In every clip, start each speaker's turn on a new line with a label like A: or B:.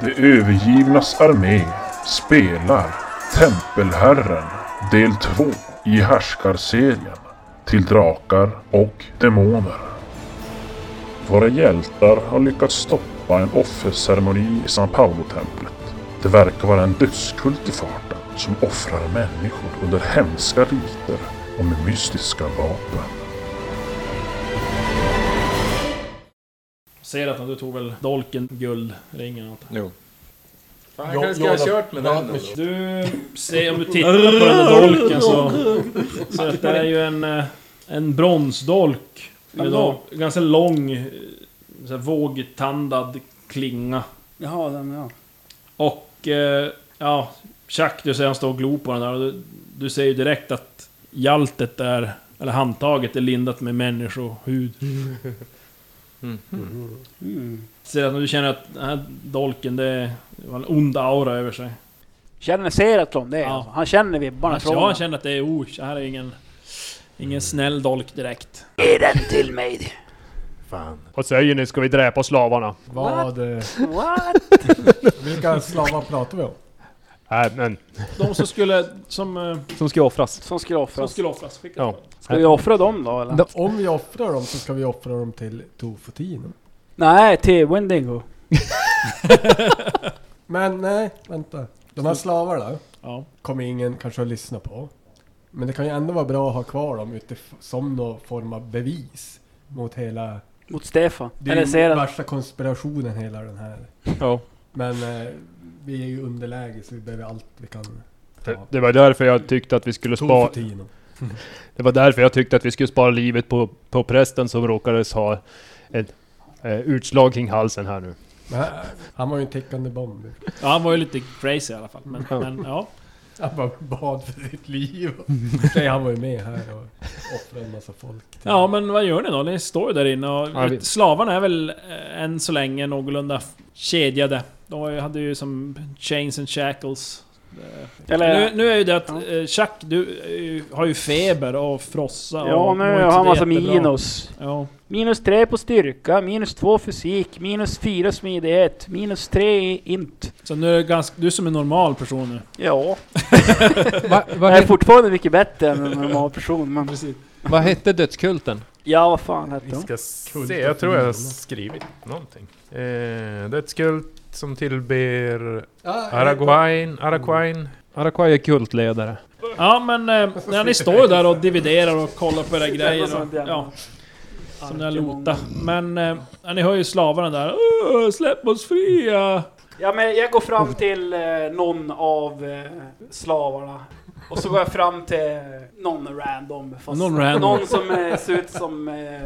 A: De övergivnas armé spelar Tempelherren del 2 i härskarserien till drakar och demoner. Våra hjältar har lyckats stoppa en offerceremoni i San Paolo-templet. Det verkar vara en dödskult i farten som offrar människor under hemska riter och med mystiska vapen.
B: Ser att du tog väl dolken, guldringen och allt.
C: Jo.
D: Fan,
E: Ja,
D: jag kanske ska
E: ja,
D: ha kört med den ändå.
B: Du ser, om du tittar på den här dolken så... Så att det är ju en, eh, en bronsdolk. Med då, ganska lång, eh, så här vågtandad klinga.
F: Jaha, den ja.
B: Och eh, ja, Chuck du ser han står och glor på den där och du, du ser ju direkt att hjaltet är, eller handtaget är lindat med människohud.
F: Mm.
B: Ser att du känner att den här dolken, det var en ond aura över sig.
F: Känner Seratlon det?
B: Ja.
F: Alltså. Han känner vibbarna
B: Alltså,
F: från
B: jag
F: honom.
B: känner att det är, oh, det här är ingen, ingen snäll dolk direkt.
F: Ge den till mig!
D: Fan.
G: Vad säger ni? Ska vi dräpa slavarna?
E: Vad? eh,
F: What?
E: Vilka slavar pratar vi om?
G: Nej, men...
B: De som skulle, som, eh,
C: Som ska offras.
F: Som skulle
B: som
F: offras.
B: skulle offras. Skicka
G: Ja.
F: Ska vi offra dem då eller?
E: Da- Om vi offrar dem så ska vi offra dem till Tofotino.
F: Nej, till Wendigo.
E: Men nej, vänta. De här slavarna
B: Ja.
E: kommer ingen kanske att lyssna på. Men det kan ju ändå vara bra att ha kvar dem utif- som någon form av bevis mot hela...
F: Mot Stefan.
E: Det
F: Eller
E: är ju
F: Serat.
E: värsta konspirationen hela den här.
C: Ja.
E: Men eh, vi är ju i underläge så vi behöver allt vi kan.
G: Det, det var därför jag tyckte att vi skulle spara...
E: Tofotino.
G: Det var därför jag tyckte att vi skulle spara livet på, på prästen som råkade ha ett eh, utslag kring halsen här nu.
E: Men han- Han var ju en tickande bomb.
B: Ja, han var ju lite crazy i alla fall. Men, men ja.
E: Han bara bad för sitt liv. Nej, han var ju med här och offrade en massa folk. till-
B: ja, men vad gör ni då? Ni står ju där inne och
G: Typ. Ja, vi-
B: slavarna är väl eh, än så länge någorlunda f- kedjade. De var ju- hade ju som chains and shackles. Eh,
F: Eller...
B: Nu, nu är ju det att eh, Chuck, du är ju- har ju feber och frossa och
F: ja, nu
B: mår inte
F: har
B: så
F: han massa
B: jättebra.
F: minus.
B: Ja.
F: Minus tre på styrka, minus två fysik, minus fyra smidighet, minus tre i int.
B: Så nu är det ganska, du är som en normal person nu.
F: Ja.
C: Va, vad,
F: Jag är
C: het,
F: fortfarande mycket bättre än en normal person, men...
C: vad hette dödskulten?
F: Ja, vad fan hette
E: Vi
F: de?
D: Ska se, jag tror jag har skrivit någonting. Eh, det är ett skult som tillber
E: Ah,
D: Araguain, Araquain.
C: Araquai är kultledare.
B: Ja men eh, när ni står ju där och dividerar och kollar på era grejer och,
F: sånt jävla-
B: ja, Som ni har lotat. Men eh, ja, ni hör ju slavarna där "Åh, Släpp oss fria!
F: Ja, men jag går fram till eh, någon av eh, slavarna. Och så går jag fram till någon random. Fast
B: Någon random.
F: någon som eh, ser ut som... Eh,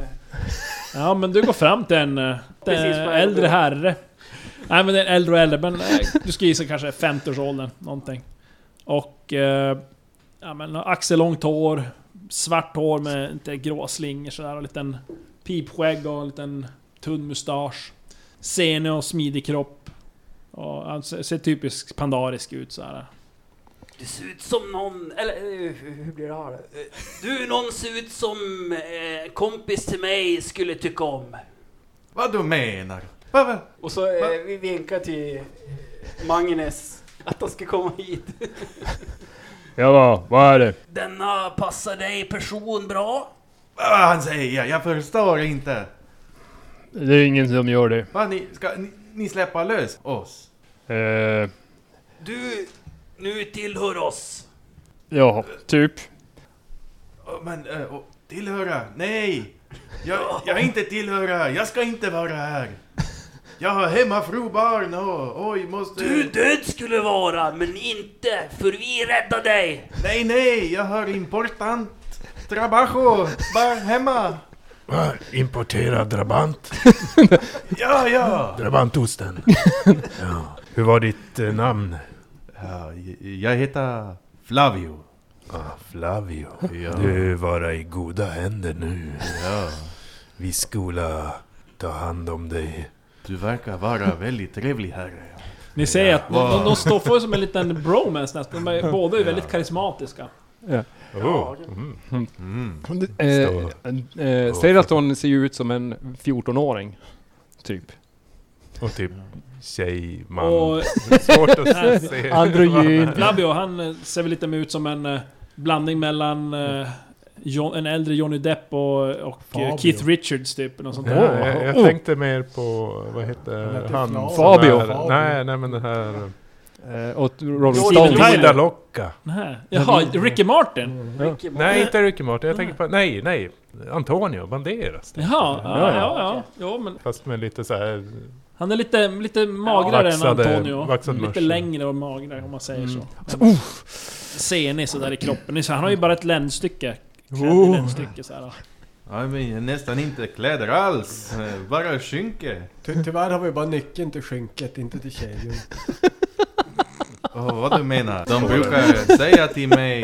B: Ja men du går fram till en eh, till
F: Precis
B: en
F: vad jag
B: äldre
F: gjorde.
B: herre. Nej men det är en äldre och äldre, men eh, du ska gissa kanske 50-årsåldern, någonting. Och... Eh, ja men axellångt hår, svart hår med inte gråa slingor sådär och en liten pipskägg och en liten tunn mustasch. Senig och smidig kropp. Och han ser, ser typiskt pandarisk ut så här.
F: du ser ut som någon... Eller eh, hur blir det här? Eh, Du, någon ser ut som eh, kompis till mig skulle tycka om.
D: Vad du menar? Vad, vad?
F: Och så eh, vi vinkar till eh, Magnus att han ska komma hit.
G: Ja, vad- vad är det?
F: Denna passar dig person bra.
D: Vad han säger? Jag förstår inte.
G: Det är ingen som gör det.
D: Vad ni, ska ni, ni släppa lös oss?
G: Eh,
F: Du, nu tillhör oss.
G: ja, typ.
D: Åh, Men eh, åh, tillhöra? Nej! Jag, jag är inte tillhöra, jag ska inte vara här! Jag har hemmafru, barn och oj, måste...
F: Du död skulle vara, men inte, för vi räddar dig!
D: Nej, nej, jag har important trabajo, bara hemma!
H: Importerad drabant.
D: Ja, ja!
H: Drabantosten. ja. Hur var ditt eh, namn?
D: ja jag heter Flavio.
H: Ah, Flavio.
D: Ja.
H: Du är vara i goda händer nu. Vi skola ta hand om dig.
D: Du verkar vara väldigt trevlig herre.
B: Ni ser att de, de, de står för som en liten bromance nästan. De är, båda är väldigt karismatiska.
C: Eh, eh, Seraton ser ju ut som en 14-åring. Typ.
H: Och typ tjej, man.
B: Och
H: Svårt
B: Nej.
H: att se.
C: Androgyn.
B: Flavio, han eh, ser väl lite mer ut som en eh, blandning mellan eh, Jo- en äldre Johnny Depp och, och eh,
E: Fabio.
B: Keith Richards typ. Något sånt
H: Ja, Oh.
B: där.
H: jag, jag
C: Åh.
H: tänkte mer på, vad
E: Den
H: heter
E: heter
H: han?
E: Flavio.
H: som
C: Fabio.
H: Är, nej, nej men den här...
C: Eh, åt Rolling
B: Steven
C: Stones.
B: Tyler.
H: Linda Locka.
B: Nähä. Jaha, Ricky Martin?
H: Nej, inte Ricky Martin. Jag tänker på... Nej, nej. Antonio Banderas.
B: Jaha, ja, ja,
H: Ja, ja.
B: ja. Jo, men
H: Fast med lite så här...
B: han är lite, lite magrare
H: Vaxade-
B: än Antonio.
H: vaxad
B: lite
H: mörsel.
B: längre och magrare om man säger så. Men, Senig sådär i kroppen. Ni ser, Han har ju bara ett ländstycke. Oh. ländstycke så här.
D: Ja, men nästan inte kläder alls. Eh, Bara skynke.
E: Ty tyvärr har vi bara nyckeln till skynket, inte till tjejen.
D: Åh, vad du menar. De brukar säga till mig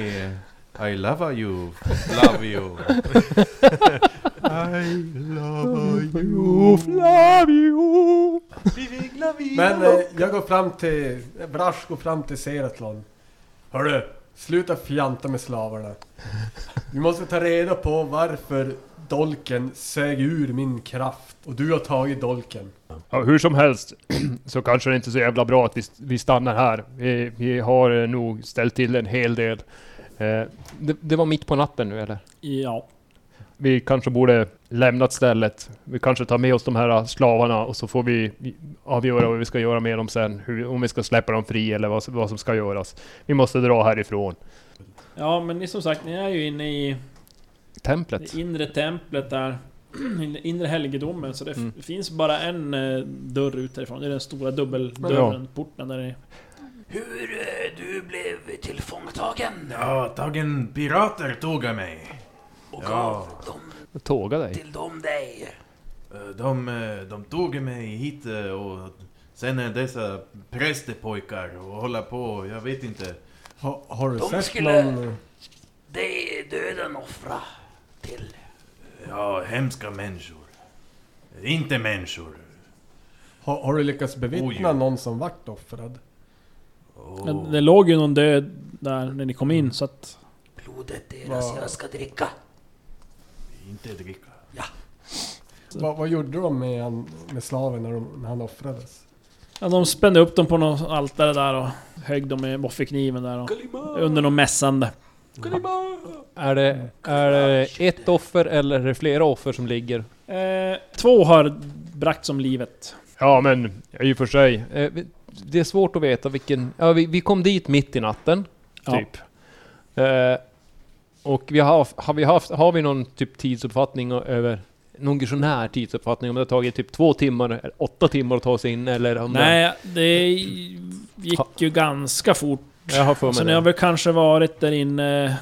D: I love you, love you. I love you,
C: Flavio!
E: Men eh, jag går fram till... Brash går fram till Seratlon. Hörru! Sluta fjanta med slavarna. Vi måste ta reda på varför dolken sög ur min kraft. Och du har tagit dolken.
G: Ja, hur som helst så kanske det inte är så jävla bra att vi, vi stannar här. Vi, vi har eh, nog ställt till en hel del. Eh,
C: Det, det var mitt på natten nu eller?
B: Ja.
G: vi kanske borde lämnat stället. Vi kanske tar med oss de här slavarna och så får vi avgöra vad vi ska göra med dem sen. Hur, om vi ska släppa dem fri eller vad, som- vad som ska göras. Vi måste dra härifrån.
B: ja, men ni som sagt, ni är ju inne i
C: Templet?
B: Det inre templet där. in- Inre helgedomen. Så det f- finns bara en eh, dörr ut därifrån. Det är den stora dubbeldörren, porten där i.
F: Hur eh, du blev tillfångtagen
D: Ja, dagen pirater tog jag mig.
F: och
D: Ja.
F: gav dem
C: Tåga dig?
F: till dem dig.
D: Eh, De, eh, de tog mig hit eh, och sen är dessa prästepojkar och hålla på, jag vet inte.
E: Ha, har du
F: De
E: sett
F: skulle-
E: någon...
F: Dig döden offra till.
D: Ja, hemska människor. Inte människor.
E: Har, har du lyckats
F: Oh,
E: bevittna
D: Oj.
E: någon som vart offrad?
D: Åh.
B: Men det låg ju någon död där när ni kom in så att...
F: Blodet deras
E: Va?
F: jag ska dricka.
D: Inte dricka.
E: Vad, vad gjorde de med, han, med slaven när, de, när han offrades?
B: Ja, de spände upp dem på något altare där och högg dem med boffekniven där och... Under något mässande.
C: Är det, är det ett offer eller är det flera offer som ligger?
B: Eh, två har bragts om livet.
G: Ja men i och för sig.
C: Eh, vi- Det är svårt att veta vilken... Ja, vi, vi kom dit mitt i natten.
B: Ja.
C: Typ. Eh, och vi har, haft- har, vi haft, har vi någon typ tidsuppfattning o- över... Någon sån här tidsuppfattning? Om det har tagit typ två timmar, eller åtta timmar att ta sig in eller om
B: Nej, det gick ju ganska fort.
C: Det, jag har för mig
B: Så
C: det.
B: ni har väl kanske varit där inne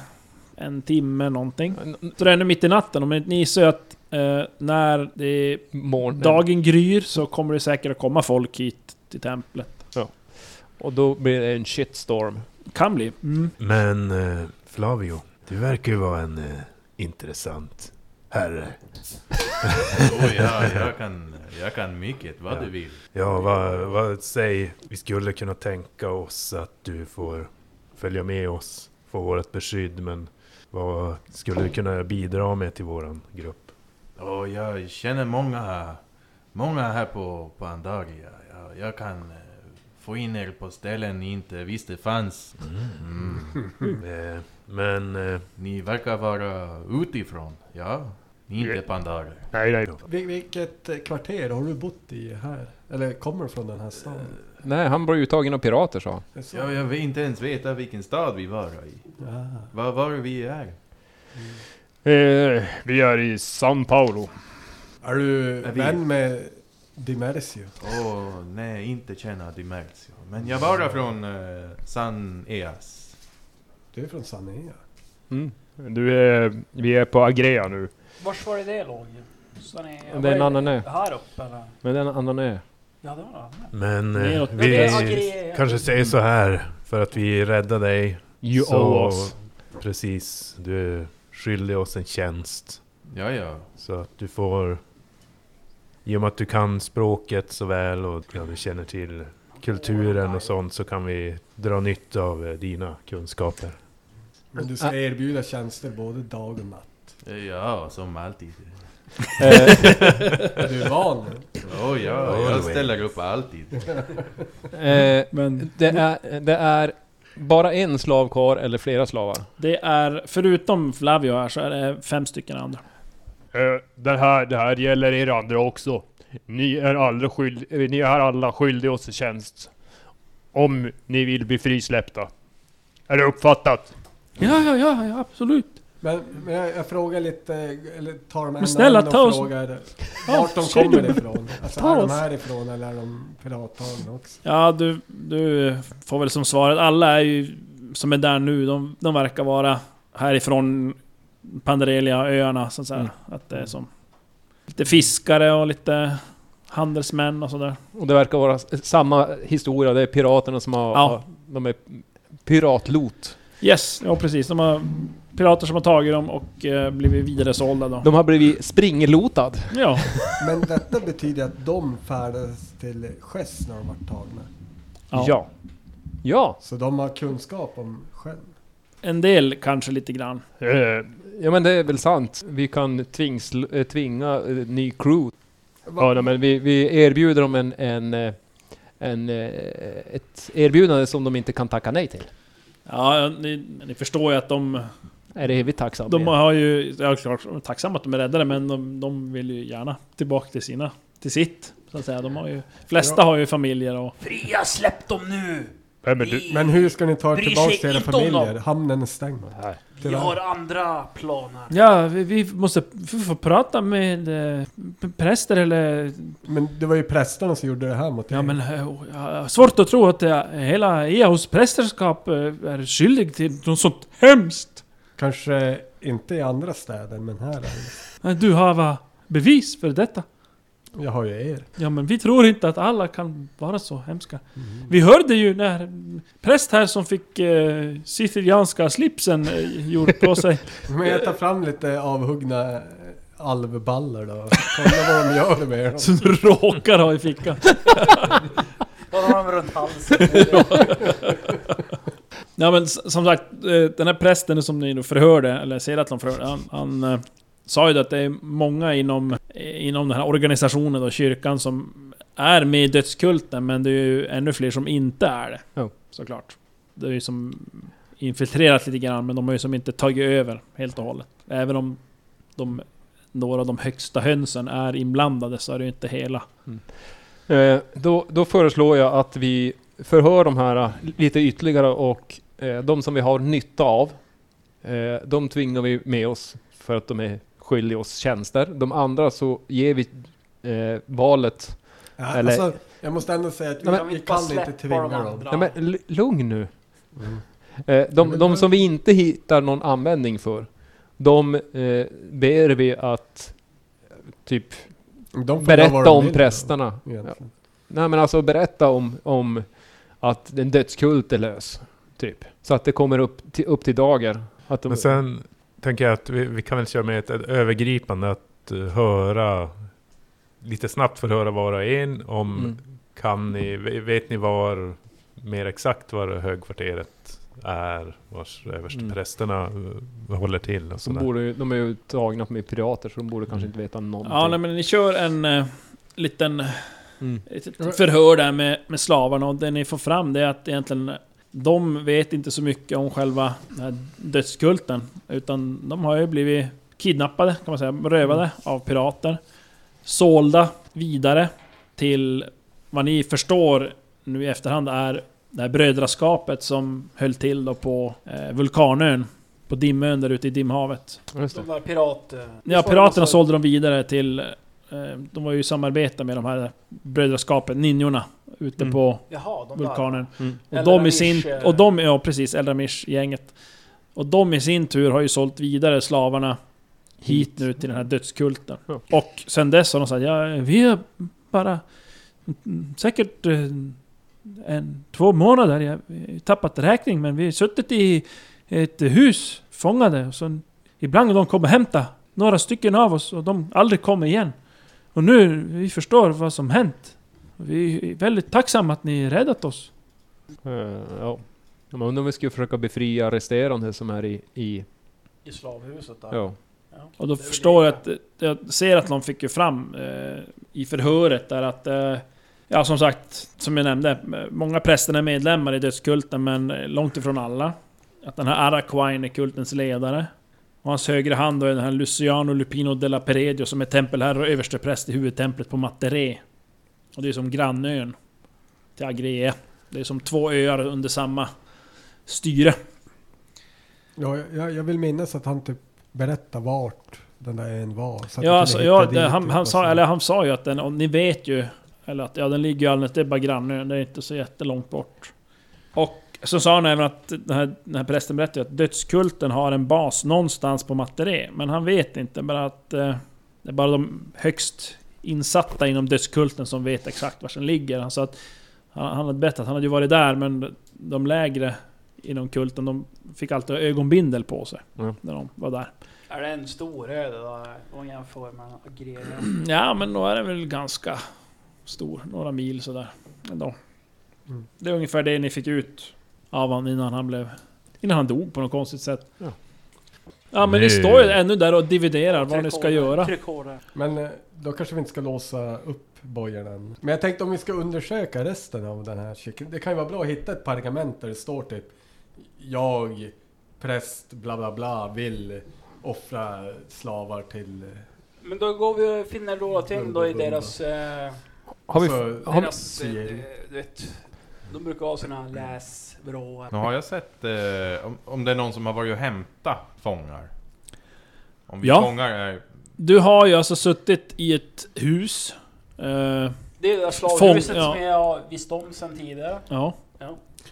B: en timme någonting.
C: N- n-
B: Så det är nu mitt i natten, om ni ni ser att eh, när det,
C: Morgonen.
B: dagen gryr så kommer det säkert att komma folk hit till templet.
C: Och då blir det en shitstorm.
B: Kan bli. Mm.
H: Men eh, Flavio, du verkar ju vara en eh, intressant herre.
D: Oh, ja, jag kan, jag kan mycket, vad du vill.
H: Ja, vad, vad säg, vi skulle kunna tänka oss att du får följa med oss, få vårt beskydd, men vad skulle du kunna bidra med till våran grupp?
D: Och jag känner många, många här på Pandaria. Jag, jag kan eh, få in er på ställen ni inte visste fanns. Mm.
H: Eh, men eh,
D: Ni verkar vara utifrån, ja? Ni är inte pandarer.
G: Nej nej.
E: Vil, vilket eh, kvarter har du bott i här? Eller kommer från den här staden?
C: Nej, han blev uttagen av pirater sa han.
E: Det är så.
D: Jag, jag vill inte ens veta vilken stad vi var i.
E: Ah.
D: Var, var vi är.
G: Eh, vi är i São Paulo.
E: Är du
D: Jag vet.
E: vän med Dimersio?
D: Åh, nej, inte känna Dimersio. Men jag var från eh, San Eas.
E: Du är från Sanea.
G: Du är, vi är på Agrea nu.
F: Vars var det det låg?
C: Det är en annan ö.
F: Här uppe eller?
C: Men det är en annan ö.
F: Ja, det var det.
H: men eh,
B: Neråt.
H: vi
F: Ja, det är-
H: kanske säger så här, för att vi räddade dig.
G: You
H: så,
G: owe us.
H: Precis, du är skyldig oss en tjänst.
D: Ja, ja.
H: Så att du får... I och med att du kan språket så väl och ja, du känner till kulturen och sånt så kan vi dra nytta av eh, dina kunskaper.
E: Men du ska erbjuda tjänster både dag och natt.
C: Eh,
D: Ja, som alltid.
E: Är du van?
D: Oh, ja, jag
H: Always.
D: ställer upp alltid.
C: Eh,
B: Men
C: det, är, det är bara en slav kvar eller flera slavar?
B: det är, förutom Flavio här, så är det fem stycken andra.
G: Eh, Den här, det här gäller er andra också. Ni är alla, skyld, eh, ni är alla skyldiga oss en tjänst. Om ni vill bli frisläppta. Är det uppfattat?
B: Ja, ja, ja, ja absolut.
E: Men, men jag, jag frågar lite, eller tar de en
B: snälla,
E: namn och
B: ta oss-
E: frågar
B: Ja,
E: vart de
B: säg
E: kommer
B: det.
E: ifrån. Alltså
B: Ta
E: är de
B: oss.
E: härifrån eller är de pirattagna också?
B: Ja, du, du får väl som svar att alla är ju, som är där nu, de, de verkar vara härifrån Pandarelia-öarna, så att säga.
C: Mm.
B: Att det är som lite fiskare och lite handelsmän och sådär.
C: Och det verkar vara s- eh, samma historia, det är piraterna som har...
B: Ja.
C: De är piratlot.
B: Yes, ja precis. De har pirater som har tagit dem och eh, blivit vidaresålda då.
C: De har blivit springlotad.
B: Ja,
E: Men detta betyder att de färdas till sjöss när de vart tagna.
B: Ja.
C: Ja. Ja,
E: Så de har kunskap om sjön.
B: en del kanske lite grann.
G: Eh,
C: ja men det är väl sant. Vi kan tvings, eh, tvinga eh, ny crew.
E: Va-
C: Ja, nej, men vi, vi erbjuder dem en, en, eh, en, eh, ett erbjudande som de inte kan tacka nej till.
B: Ja, ni, ni förstår ju att de...
C: Är det evigt tacksam?
B: De
C: igen.
B: har ju... Ja, klart, de är tacksamma att de är räddade, men de, de vill ju gärna tillbaka till sina... Till sitt, så att säga. De har ju... Flesta har ju familjer och...
F: Fria, släpp dem nu!
G: vem är du?
F: Vi,
E: Men hur ska ni ta er
F: Bryr
E: tillbaka
F: sig
E: till era
F: inte om dem.
E: familjer? Hamnen är stängd.
F: vi har andra planer.
B: Ja, vi, vi måste... Vi får prata med eh, präster eller...
E: Men det var ju prästerna som gjorde det här mot er.
B: Ja men... eh, oh, svårt att tro att eh, hela Eos prästerskap eh, är skyldig till något sånt hemskt.
E: Kanske inte i andra städer, men här är det.
B: Du har va bevis för detta?
E: Jag har ju er.
B: Ja men vi tror inte att alla kan vara så hemska. Vi hörde ju när präst här som fick eh, sicilianska slipsen eh, gjort på sig.
E: Men jag tar fram lite avhuggna alvballar då. Kolla vad de gör med dem.
B: som råkar ha i fickan.
F: Då har de runt halsen.
B: Ja men s- som sagt, eh, den här prästen som ni då förhörde, eller ser att de förhörde, han, han eh, sa ju det att det är många inom, eh, inom den här organisationen och kyrkan som är med i dödskulten, men det är ju ännu fler som inte är det.
C: Ja.
B: Såklart. Det är ju som infiltrerat lite grann, men de har ju som inte tagit över helt och hållet. Även om de, några av de högsta hönsen är inblandade så är det ju inte hela.
C: Eh, då, då föreslår jag att vi förhör de här eh, lite ytterligare och eh, de som vi har nytta av, eh, de tvingar vi med oss för att de är skyldiga oss tjänster. De andra så ger vi eh, valet.
E: Ja,
C: Eller-
E: alltså, jag måste ändå säga att vi,
C: Nej, men-
E: vi, kan inte tvinga dem.
C: Nej, men l- lugn nu.
E: Mm.
C: Eh, de, de som vi inte hittar någon användning för, de eh, ber vi att eh, typ
E: De får göra vad
C: berätta
E: de
C: om
E: vill,
C: prästerna.
E: då, egentligen.
C: Nej men alltså berätta om, om att en dödskult är lös. Typ. Så att det kommer upp till, upp till dagar. Att de,
H: Men sen tänker jag att vi, vi kan väl köra med ett, ett övergripande att eh, höra lite snabbt förhöra var och en om
C: Mm.
H: kan ni, ve- vet ni var mer exakt var högkvarteret är, vars
C: Mm.
H: översteprästerna eh, håller till och
C: så
H: sådär.
C: borde, ju- de är ju tagna med pirater så de borde kanske inte veta någonting.
B: Ja, nej, men ni kör en eh, liten
C: Mm.
B: ett litet förhör där med, med slavarna och det ni får fram det är att egentligen eh, de vet inte så mycket om själva den här dödskulten. Utan de har ju blivit kidnappade, kan man säga, rövade
C: Mm.
B: av pirater. Sålda vidare till vad ni förstår nu i efterhand är det här brödraskapet som höll till då på eh, vulkanön. På dimön där ute i dimhavet.
C: Just det.
F: De där pirat... eh,
B: Ja,
F: så-
B: piraterna
F: så-
B: sålde dem vidare till... eh, De var ju i samarbete med de här brödraskapen, ninjorna, ute
C: Mm.
B: på
F: Jaha, de där.
B: vulkanen.
C: Mm.
B: Och de i
F: Eldramish,
B: sin...
F: eh.
B: Och de, ja precis, Eldramish-gänget. Och de i sin tur har ju sålt vidare slavarna hit nu till den här dödskulten.
C: Ja.
B: Och sen dess har de sagt ja, vi är bara... mm, Säkert eh, en, två månader, jag har tappat räkning, men vi har suttit i ett hus fångade. Och så ibland de kommer hämta några stycken av oss och de aldrig kommer igen. Och nu, vi förstår vad som hänt. Vi är väldigt tacksamma att ni räddat oss.
C: Eh, ja. Jag undrar om vi skulle försöka befria resterande som är i... i
F: I slavhuset där.
C: ja.
B: Och då förstår jag att, jag ser att någon fick ju fram eh, i förhöret där att... Eh, ja som sagt, som jag nämnde, många präster är medlemmar i dödskulten men eh, långt ifrån alla. Att den här Araquain är kultens ledare. Och hans högra hand då är den här Luciano Lupino della Peredio som är tempelherre och överstepräst i huvudtemplet på Matteré. Och det är som grannön till Agrie. Det är som två öar under samma styre.
E: Ja, jag- jag, jag vill minnas att han typ berättade vart den där ön var. Så att vi
B: Ja,
E: kunde
B: alltså,
E: hitta
B: ja
E: dit,
B: det, han,
E: typ,
B: han,
E: och
B: sa,
E: så.
B: eller han sa ju att den, och ni vet ju... Eller att ja, den ligger ju alldeles, det är bara grannen, det är inte så jättelångt bort. Och så sa han även att den här, den här prästen berättade ju att dödskulten har en bas någonstans på Matteré. Men han vet inte, bara att... Eh, det är bara de högst insatta inom dödskulten som vet exakt var den ligger. Han sa att... Han, han hade berättat att han hade ju varit där, men de lägre inom kulten, de fick alltid ögonbindel på sig.
C: Ja.
B: När de var där.
F: Är det en stor ö det då? Om man jämför med Agria.
B: Ja, men då är den väl ganska stor. Några mil sådär. Ändå.
E: Mm.
B: Det är ungefär det ni fick ut av honom innan han blev... Innan han dog på något konstigt sätt.
C: Ja.
B: Ja, men
A: Nu-
B: ni står ju ännu där och dividerar vad ni ska göra.
F: Tryckhårdare.
E: Men eh, då kanske vi inte ska låsa upp bojan än. Men jag tänkte om vi ska undersöka resten av den här cykeln. Det kan ju vara bra att hitta ett pergament där det står typ Jag, präst, bla bla bla, vill offra slavar till...
F: Men då går vi och finner några ting då i deras... Eh,
C: Har vi,
E: Så-
C: har vi,
F: deras eh, du vet, de brukar ha sina läsvråar.
D: Nu har jag sett eh, om, om det är någon som har varit och hämtat fångar. Om vi
B: Ja.
D: fångar är...
B: Du har ju alltså suttit i ett hus. Eh,
F: Det är det där slavhuset
B: Fång- ja.
F: som jag visste om sedan tidigare.
B: ja.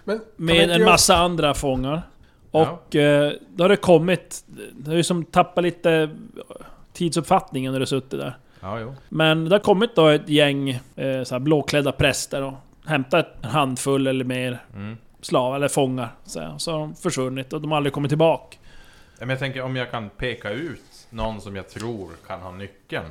E: Men kan vi
B: Med
E: inte
B: en
E: göra-
B: massa andra fångar. Och eh, då har det kommit... Det har ju som tappat lite tidsuppfattningen när du suttit där.
D: Ja, jo.
B: Men det har kommit då ett gäng eh, så här blåklädda präster och hämtat en handfull eller mer
D: Mm.
B: slav eller fångar. Så, här. så har de försvunnit och de har aldrig kommit tillbaka.
D: Ja, Men jag tänker om jag kan peka ut någon som jag tror kan ha nyckeln.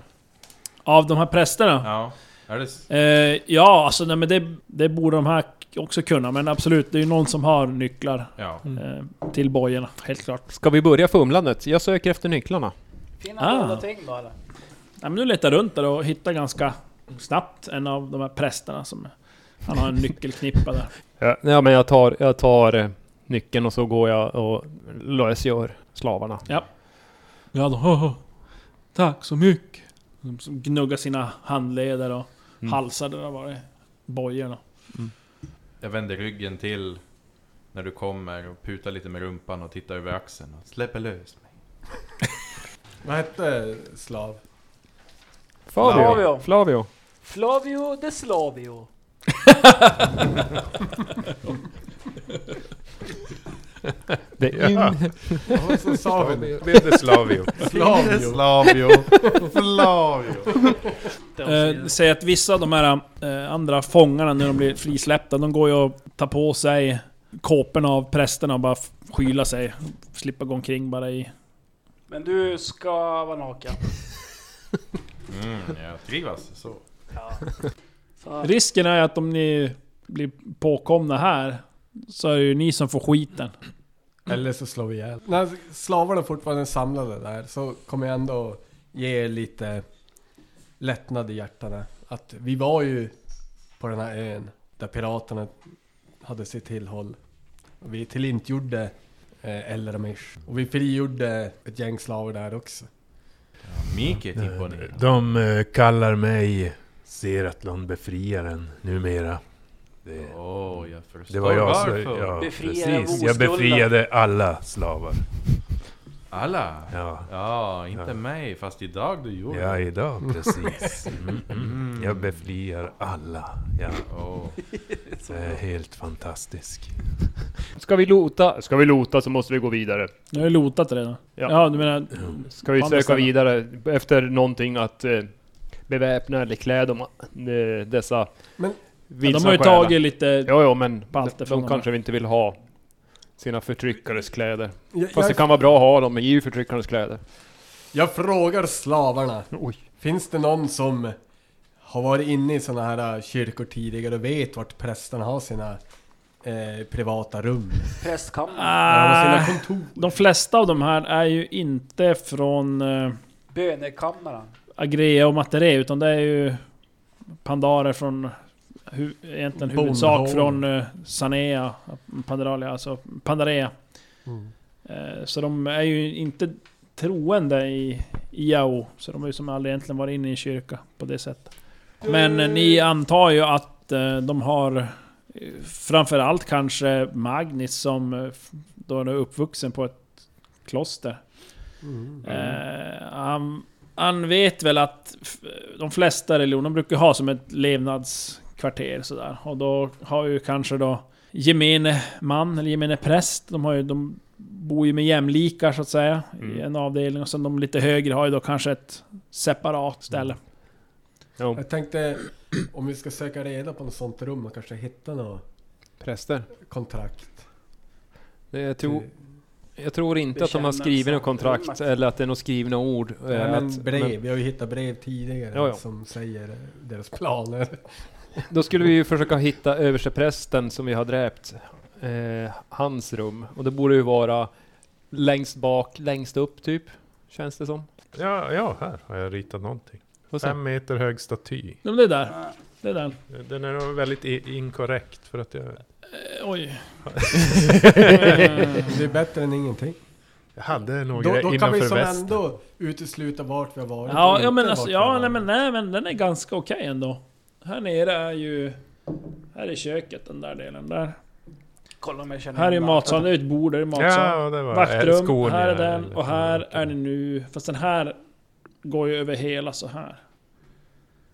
B: Av de här prästerna?
D: Ja. Är det... s-
B: Ja, eh, ja alltså nej, men det, det borde de här också kunna. Men absolut, det är ju någon som har nycklar
D: Ja.
B: eh, till bojorna, helt klart.
C: ska vi börja fumlandet? Jag söker efter nycklarna.
F: Finna
B: Ah.
F: dolda ting då eller?
B: Nej, men du letar runt där och hittar ganska snabbt en av de här prästerna som... Han har en nyckelknippa där.
C: Ja, ja men jag tar, jag tar eh, nyckeln och så går jag och lösgör slavarna.
B: Ja då, Tack så mycket. Mm. De som gnuggar sina handleder och halsar där det har varit bojorna.
D: Jag vänder ryggen till när du kommer och putar lite med rumpan och tittar över axeln. Och släpper lös mig.
E: Vad hette slav?
C: Flavio!
F: Flavio.
C: Flavio!
F: Flavio de Slavio.
C: Det är in...
E: Vad som sa vi?
H: Vedeslavio.
E: Slavio.
D: Slavio. Flavio.
B: Eh, Säg att vissa av de här eh, andra fångarna när de blir frisläppta, de går ju och tar på sig kåporna av prästerna och bara f- skyla sig. Slippa gå omkring bara i...
F: Men du ska vara naken.
D: Mm, jag trivas så.
F: Ja. Så,
B: Risken är ju att om ni blir påkomna här, så är det ju ni som får skiten.
E: Eller så slår vi ihjäl. När slavarna fortfarande är samlade där så kommer jag ändå ge er lite lättnad i hjärtarna. Att vi var ju på den här ön där piraterna hade sitt tillhåll. Och vi tillintetgjorde eh, Elramish. Och vi frigjorde ett gäng slavar där också.
D: Miki är imponerad.
H: De eh, kallar mig Seratlon befriaren numera. Det,
D: Åh, jag förstår
H: det var jag som...
D: varför.
H: Ja,
F: Befriare
H: precis.
F: oskulda.
H: Jag befriade alla slavar.
D: Alla.
H: Ja,
D: Ja, inte
H: Ja.
D: mig, fast idag du gjorde
H: ja
D: det.
H: idag precis. Mm, mm. Jag befriar alla. Ja,
D: Åh.
H: det är helt fantastisk.
C: Ska vi lota? Ska vi lota så måste vi gå vidare.
B: Ni har ju lotat redan. Ja,
C: Ja.
B: du menar...
C: Ska vi
B: På andra
C: söka
B: ställen.
C: vidare efter någonting att eh, beväpna eller klä de, eh, dessa
E: Men-
B: Ja,
C: vilsna
B: de har ju
C: själar?
B: tagit lite...
C: Ja, ja, men
B: Balter
C: de,
B: från
C: de
B: de
C: kanske vi inte vill ha sina förtryckares kläder.
E: Jag,
C: Fast det
E: jag,
C: kan vara bra att ha dem, men ju förtryckarens kläder.
E: jag frågar slavarna.
C: Oj.
E: Finns det någon som har varit inne i sådana här kyrkor tidigare och vet vart prästerna har sina eh, privata rum.
F: Prästkammaren.
E: Där de har
B: Ah,
E: sina kontor.
B: de flesta av de här är ju inte från eh,
F: Bönekammaren.
B: Agrea och Materé, utan det är ju Pandarer från... Hu, egentligen huvudsak
E: Bonhov.
B: från eh, Sanea, Pandaralia, alltså Pandarea. Eh, så de är ju inte troende i Iao, så de har ju som aldrig egentligen varit inne i en kyrka på det sättet. Men eh, ni antar ju att eh, de har eh, framförallt kanske Magnus som eh, f- då är uppvuxen på ett kloster. Eh, han, han vet väl att f- de flesta religioner brukar ha som ett levnadskvarter sådär. Och då har ju kanske då gemene man eller gemene präst, de, har ju, de bor ju med jämlikar så att säga i en avdelning. Och sen de lite högre har ju då kanske ett separat ställe.
E: Jag tänkte om vi ska söka reda på något sånt rum och kanske hitta något
C: Präster?
E: kontrakt.
C: Det- Eh, Jag tror, jag tror inte att de har
F: Bekännelse.
C: skrivit något kontrakt eller att det är några skrivna ord. eh,
E: Nej,
C: att-
E: men brev.
C: men-
E: Vi har ju hittat brev tidigare
C: Ja, ja.
E: som säger deras planer.
C: Då skulle vi ju försöka hitta översteprästen som vi har dräpt, eh, hans rum. Och det borde ju vara längst bak, längst upp typ, känns det som.
H: Ja, ja, här har jag ritat någonting.
C: Får se.
H: Fem meter hög staty.
B: Ja, men det är där. Det är där.
H: Den är nog väldigt i- inkorrekt för att jag...
B: Eh, oj.
E: Det är bättre än ingenting.
H: Jag hade några
E: Då, då kan vi
H: innanför
E: som
H: västen.
E: ändå utesluta vart vi har varit. och
B: Ja,
E: inte
B: ja men
E: vart
B: alltså,
E: vi har
B: ja, nej,
E: varit.
B: men, nej, men den är ganska okej ändå. Här nere är ju... Här är köket, den där delen där.
F: Kolla om jag känner
B: Här är ju
F: igen
B: matsalen, det är ju ett bord, där är matsalen.
H: Ja, det var eh,
B: Vaktrum,
H: Skåne
B: här är
H: eller- liksom
B: den och här är det nu... Fast den här går ju över hela så här.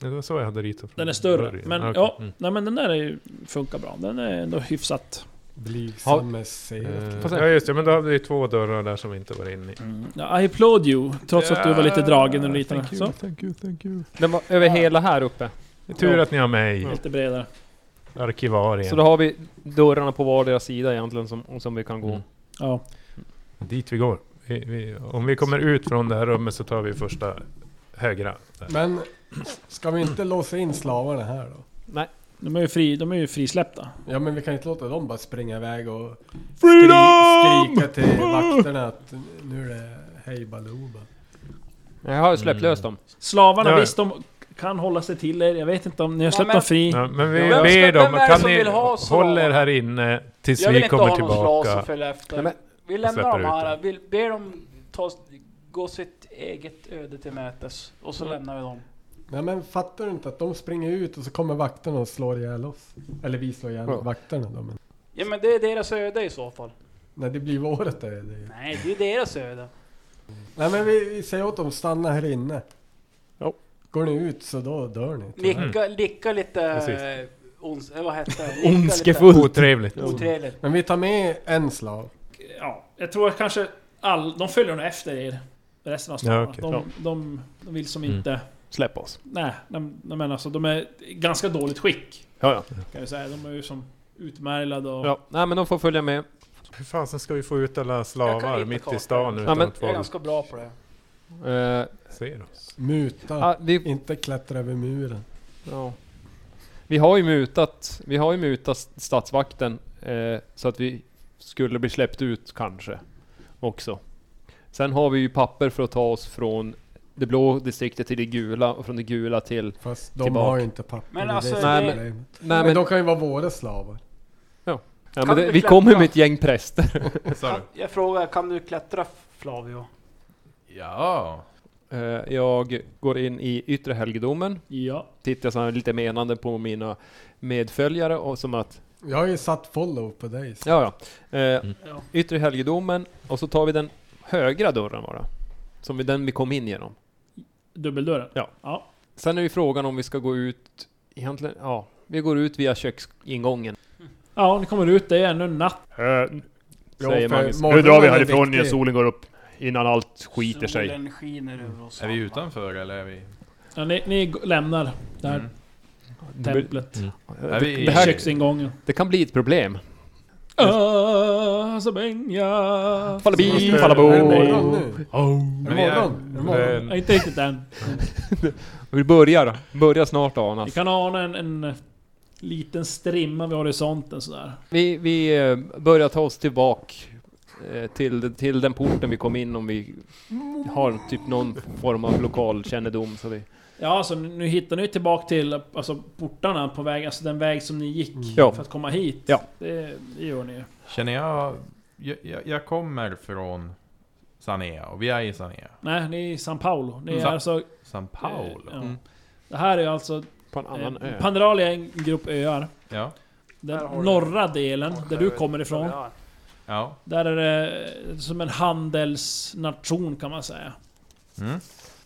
H: Ja, Det var så jag hade ritat från
B: Den är större.
H: början.
B: Men
H: Ah, okej.
B: ja,
H: Mm.
B: nej men den där är, ju- funkar bra. Den är ändå hyfsat...
E: Blygsamme ser.
H: Eh, Ja just det, men då hade vi två dörrar där som vi inte var inne i.
F: Mm.
B: Ja, I applaud you, trots att du var lite dragen och liten.
H: Thank you,
B: Så,
H: thank you, thank you.
C: Den var över hela här uppe.
H: Det är tur att ni har mig,
B: lite bredare.
H: arkivarien.
C: Så då har vi dörrarna på vardera sida egentligen som, som vi kan gå.
H: Mm.
B: Ja.
H: Dit vi går. Vi, vi, om vi kommer ut från det här rummet så tar vi första högra. Där.
E: Men ska vi inte låsa in slavarna här då?
B: De är ju, fri, de är ju frisläppta.
E: Ja men vi kan inte låta dem bara springa iväg och skri skrika till vakterna att nu är det hej baluba.
C: Jag har ju släppt lös dem.
B: Slavarna,
H: Ja, ja.
B: visst de kan hålla sig till er. Jag vet inte om ni har
F: Ja,
B: släppt
F: men-
B: dem fri.
H: Ja, men vi
F: Vem ska-
H: ber
F: vem är
H: dem,
F: det
H: kan
F: som
H: ni
F: vill ha så?
H: hålla er här inne tills
F: Jag vill
H: vi
F: inte
H: kommer
F: ha någon slas och
H: tillbaka?
F: följa efter.
C: Nej, men-
F: vi
H: släpper
F: lämnar dem
H: ut
F: här.
H: dem.
F: Vi ber dem ta, gå sitt eget öde till mötes. Och så lämnar vi dem.
E: Nej men fattar du inte att de springer ut och så kommer vakterna och slår ihjäl oss? Eller vi slår ihjäl
C: Ja.
E: vakterna då. Men,
F: Ja men det är deras öde i så fall.
E: nej det blir vårt öde ju.
F: Nej, det är deras öde.
E: Nej men vi, vi säger åt dem stanna här inne.
C: Jo.
E: Går ni ut så då dör ni.
F: Licka, licka lite...
H: Mm. Precis.
F: eh, Ons, eh, vad hette det? Licka lite Mm.
C: Ondskefullt!
H: Otrevligt.
F: Otrevligt.
E: Men vi tar med en slav.
B: Ja, jag tror att kanske all, de följer nog efter er. Resten av staden.
H: Ja, okej.
B: de,
C: Ja.
B: de, de vill som
H: Mm.
B: inte...
C: Släpp oss.
B: Nej, de, de menar alltså, de är i ganska dåligt skick.
C: Ja, ja.
B: Kan vi säga. De är ju som utmärglade och...
C: ja. Nej men de får följa med.
H: Hur fasen ska vi få ut alla
F: Jag kan
H: slavar
F: inte
H: mitt
F: kartan.
H: i stan utan
C: Ja, men-
H: att
F: Jag är
H: folk
F: ganska bra på det.
C: Eh,
H: ser oss?
E: Muta.
C: ah, vi,
E: Inte klättra över muren.
C: ja. vi har ju mutat, vi har ju mutat statsvakten eh, så att vi skulle bli släppt ut kanske också. Sen har vi ju papper för att ta oss från det blå distriktet till det gula och från det gula till...
E: Fast de
C: Tillbaka.
E: har ju inte papper.
F: Men
E: det är
F: alltså,
E: det som är
C: Nej, men-
E: problemet.
C: Nej
E: men
C: men,
E: de kan ju vara våra slavar.
C: ja, men
F: kan
C: det,
F: vi
C: vi
F: släppa-
C: kommer med ett gäng präster.
H: Sa
F: Kan- Jag frågar, kan du klättra Flavio?
D: Ja.
C: Eh, jag går in i yttre helgedomen,
B: Ja.
C: tittar så här lite menande på mina medföljare och som att
E: Jag har ju satt follow på dig. så-
C: Ja, ja. Eh,
B: Ja.
C: Yttre helgedomen och så tar vi den högra dörren bara. Som vi, den vi kom in genom.
B: Dubbeldörren.
C: Ja.
B: ja.
C: Sen är ju frågan om vi ska gå ut egentligen, ja. Vi går ut via köksingången.
B: Ja, ni kommer ut. Det är ännu natt.
E: Ja,
C: säger
E: för
C: Magnus.
E: morgonen
G: Nu drar vi
E: är
G: härifrån när
E: viktig.
G: solen går upp. Innan allt skiter
F: Solen
G: sig.
F: skiner över oss.
D: Är vi utanför eller är vi...
B: Ja, ni, ni g- lämnar det här
D: Mm.
B: templet.
D: Är vi i
C: Mm. Det här-
B: Köksingången.
C: Det kan bli ett problem.
B: Azabenja.
C: Falla bi,
H: Måste-
C: falla bo.
E: Är det morgon nu?
C: Oh.
E: Är det
H: Vi är-
E: morgon? Är det morgon?
H: Men-
B: Nej, inte riktigt än.
C: Vi börjar, börjar snart ana.
B: Ni kan ana en, en liten strimma vid horisonten sådär.
C: Vi, vi eh, börjar ta oss tillbaka eh, till, till den porten vi kom in om vi har typ någon form av lokalkännedom. Så vi,
B: Ja, alltså nu hittar ni ju tillbaka till alltså, portarna på väg, alltså den väg som ni gick
C: Ja.
B: för att komma hit.
C: Ja.
B: Det, det gör ni ju.
D: Känner jag... Jag, jag- jag kommer från Sanea och vi är i Sanea.
B: Nej, ni är i San Paulo. Ni är
D: Sa-
B: alltså...
D: San
B: eh, ja.
D: Paolo.
B: Det här är alltså...
C: på en annan
B: Eh,
C: ö.
B: Pandralia är en grupp öar.
D: Ja.
B: Den
F: Där har du-
B: norra delen, där du kommer ifrån,
F: Ja,
D: Ja.
B: där är det som en handelsnation kan man säga.
D: Mm.